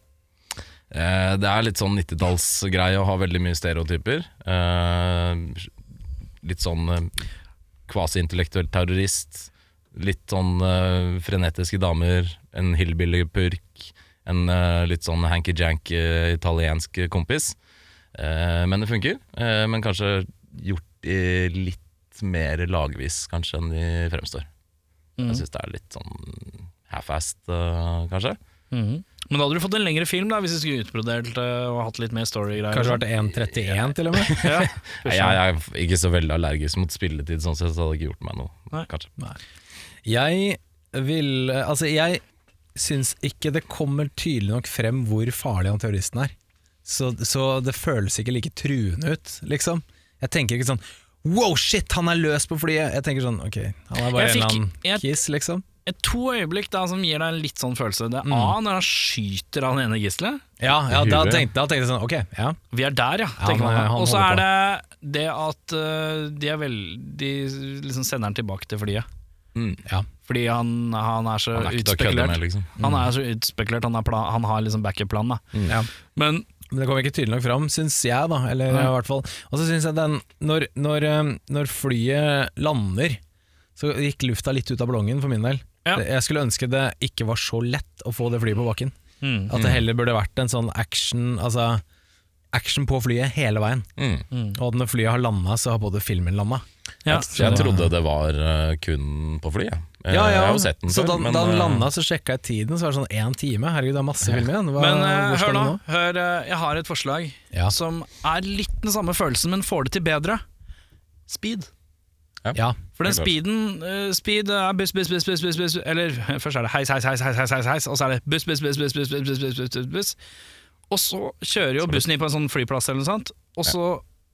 Eh, det er litt sånn 90-tallsgreie å ha veldig mye stereotyper. Eh, litt sånn eh, kvasi-intellektuell terrorist. Litt sånn eh, frenetiske damer. En hillbilly-purk. En eh, litt sånn hanky-janky eh, italiensk kompis. Eh, men det funker. Eh, men kanskje gjort i litt mer lagvis kanskje enn de fremstår. Jeg syns det er litt sånn half-assed, eh, kanskje. Men da hadde du fått en lengre film da hvis du skulle utbrodert eh, og hatt litt mer storygreier. Kanskje vært sånn- 1,31 til og med. Ja. Nei, jeg, jeg er ikke så veldig allergisk mot spilletid, sånn sett, så det hadde ikke gjort meg noe. Nei. Kanskje. Jeg vil Altså, jeg syns ikke det kommer tydelig nok frem hvor farlig han terroristen er. Så, så det føles ikke like truende ut, liksom. Jeg tenker ikke sånn Wow, shit, han er løs på flyet! Jeg tenker sånn, ok, han er bare Jeg en fikk- eller annen jeg- kiss, liksom. Et To øyeblikk da som gir deg en litt sånn følelse. Det er Mm. A når han skyter han ene gisselet. Ja, ja da, Huet. tenkte, da tenkte jeg sånn, ok, ja. Vi er der, ja. Ja, tenker han- man. han Og så er holder det det at eh, de, er vel, de liksom sender han tilbake til flyet. Mm. Fordi han, han er så Han er ikke til å kødde utspekulert. med, liksom. Han er så utspekulert, han, er plan, han har liksom backup-plan. da. ja. Men Men det kom ikke tydelig nok fram, syns jeg, da. Eller Nei. i hvert fall Og så syns jeg den når, når, eh, når flyet lander, så gikk lufta litt ut av ballongen, for min del. Ja. Det- Jeg skulle ønske det ikke var så lett å få det flyet på bakken. Mm. At det heller burde vært en sånn action Altså action på flyet hele veien. Mm. Og at når flyet har landa, så har både filmen landa. ja. Så jeg trodde det var eh, kun på fly, jeg. Eh, Jeg har jo sett den så før, da, da eh, den landa, så sjekka jeg tiden, så var det sånn én time. Herregud, det er masse film igjen. Hva, Men eh, hvor skal hør vi nå, hør, eh, jeg har et forslag Ja. som er litt den samme følelsen, men får det til bedre. Speed. Ja. For den Helt klart. speeden eh, Speed er buss, buss, buss, buss, buss, buss Eller eh, først er det heis, heis, heis, heis, heis, heis, heis Og så er det buss, buss, buss, buss, buss, buss, buss, buss, buss, buss, buss. Og så kjører jo bussen inn på en sånn flyplass eller noe sånt Og så,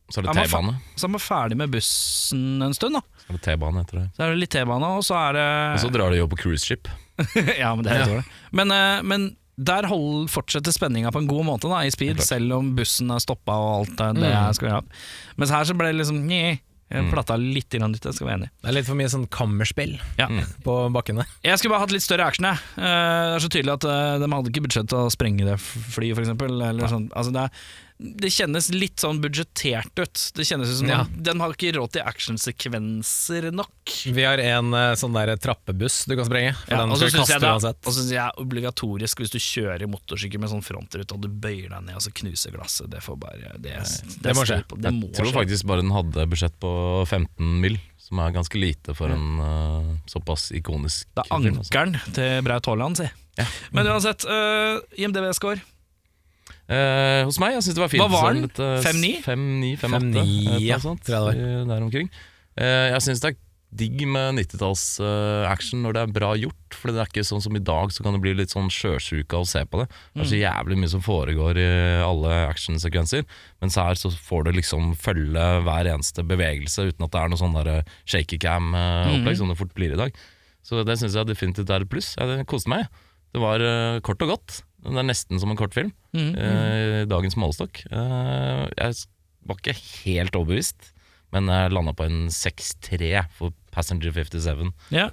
Så er Ja, det men T-bane. så er man ferdig med bussen en stund da Så er det T-bane etter det. Så er det litt T-bane og så er det Og så drar de jo på cruiseskip. Ja, men det er helt dårlig. men, eh, men der hold, fortsetter spenninga på en god måte da, i speed Helt klart. Selv om bussen er stoppet og alt det det Mm. skal være Mens her så ble det liksom nye, Platta litt grann ut, jeg skal være enig Det er litt for mye sånn kammerspill Ja på bakkene. Jeg skulle bare hatt litt større action. Jeg. Eh, det er så tydelig at eh, de hadde ikke budsjett til å sprenge det flyet, f.eks. Sånn. Altså, det, er- det kjennes litt sånn budsjettert ut. Det kjennes ut som Ja. de, de har ikke råd til actionsekvenser nok. Vi har en eh, sånn der trappebuss du kan sprenge. For Ja, den og så skal du syns jeg, kaste det er- uansett. og så synes jeg er obligatorisk hvis du kjører motorsykkel med sånn frontrute og du bøyer deg ned og så knuser glasset. Det får bare Det, det, det må står skje. på- Det Jeg må tror skje. faktisk bare den hadde budsjett på 15 mill., som er ganske lite for en eh, såpass ikonisk Det er film, altså. ankeren til Braut Haaland, si. Men uansett, uh, IMDv-score. Eh, hos meg, jeg synes det var fint. Hva var Sånn den? litt, eh, 5-9? 5-9, 5-8, 5-9, eh, ja, noe sånt, tror jeg det eh, Der omkring. Eh, jeg synes det er digg med 90-talls eh, action når det er bra gjort, for det er ikke sånn som i dag, så kan det bli litt sånn sjøsjuka å se på det. Det Mm. er så jævlig mye som foregår i alle actionsekvenser, mens her så får du liksom følge hver eneste bevegelse uten at det er noe sånn der eh, shaky Mm-hmm. cam-opplegg som det fort blir i dag. Så det synes jeg definitivt er et pluss. Jeg koste meg. Det var eh, kort og godt. Det er nesten som en kortfilm. Mm-hmm. Eh, dagens målestokk. Eh, jeg s- var ikke helt overbevist, men jeg landa på en 6-3 for Passenger 57. Ja.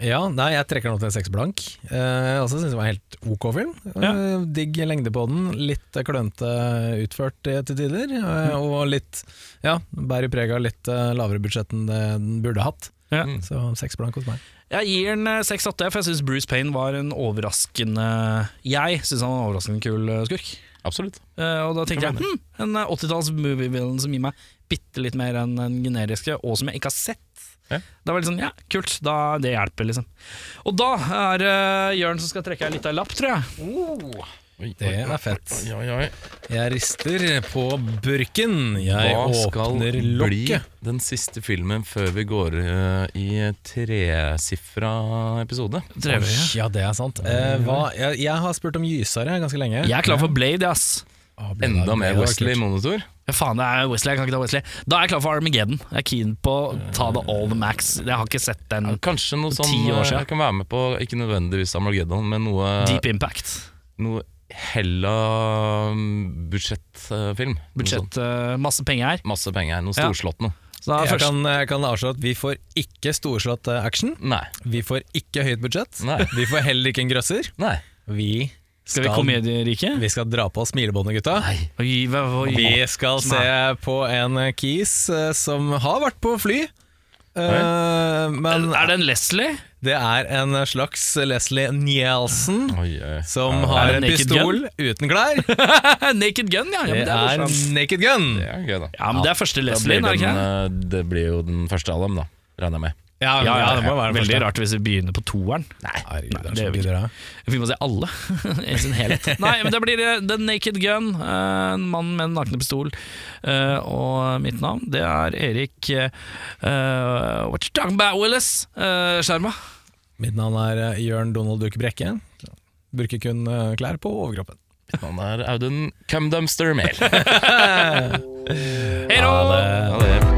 Ja, nei, jeg trekker den opp til en seks blank. Eh, også syns jeg det var en helt ok film. Eh, digg lengde på den, litt klønete utført eh, til tider, eh, og litt Ja, bærer preg av litt eh, lavere budsjett enn det den burde hatt. Ja. Så seks blank hos meg. Jeg gir den eh, 6-8, for jeg syns Bruce Payne var en overraskende Jeg syns han var en overraskende kul eh, skurk. Absolutt. Eh, og da tenkte jeg hm, en eh, 80-talls movie-villain som gir meg bitte litt mer enn den generiske, og som jeg ikke har sett. Ja. Da var det litt sånn, ja, kult, da, det hjelper, liksom. Og da er det Jørn som skal trekke ei lita lapp, tror jeg. Oh. Oi, Det oi, er fett. oi, oi, oi. Jeg rister på burken. Jeg Hva skal åpner bli lokket. den siste filmen før vi går eh, i tresifra episode? Trevlig. Ja, det er sant. Eh, hva, jeg, jeg har spurt om gysere ganske lenge. Jeg er klar for Blade, ass. Å, ble det- Enda mer det var Wesley kult. Monitor. Ja, faen, det er Wesley, jeg kan ikke ta Wesley. Da er jeg klar for Armageddon. Jeg er keen på å ta det all the max. Jeg har ikke sett den. Kanskje noe For sånn ti år eh, siden. jeg kan være med på, ikke nødvendigvis Armageddon, men noe Deep Impact. noe mm, Hella-budsjettfilm. Budsjett, eh, masse penger her. sånn. Masse penger, noe Ja. storslått noe. Så da er Jeg første, kan, jeg kan avslå at vi får ikke storslått eh, action. Nei. Vi får ikke høyt budsjett. Nei. Vi får heller ikke en grøsser. Nei. Vi skal vi komedierike? vi skal dra på oss smilebåndet, gutta. Oi, hva, oi. Vi skal se på en eh, kis eh, som har vært på fly. Eh, men Er det en Leslie? det er en slags Leslie Nielsen Oi, oi. som Ja, har Er det en Naked pistol uten klær. Naked Gun, ja. ja Det men det er er morsomt. Naked Gun. Det er gøy, da. Ja, men det er første Da Leslie, er blir det ikke den, det? eh, det blir jo den første av dem, da. Regner jeg med. Ja, Ja, ja, det må være den Veldig første. rart hvis vi begynner på toeren. Herregud, det det gjør er så vi gøy, det. Vi må se alle i sin helhet. Nei, men det blir eh, The Naked Gun. eh, En mann med en nakne pistol. Eh, Og mitt navn, det er Erik eh, eh, What you talking about, Willis? Eh, Skjerma. Mitt navn er eh, Jørn Donald Duke Brekke. Bruker kun eh, klær på overkroppen. Mitt navn er Audun Cumdumpster Mehl. Hei då! Ha det. Ja, det er-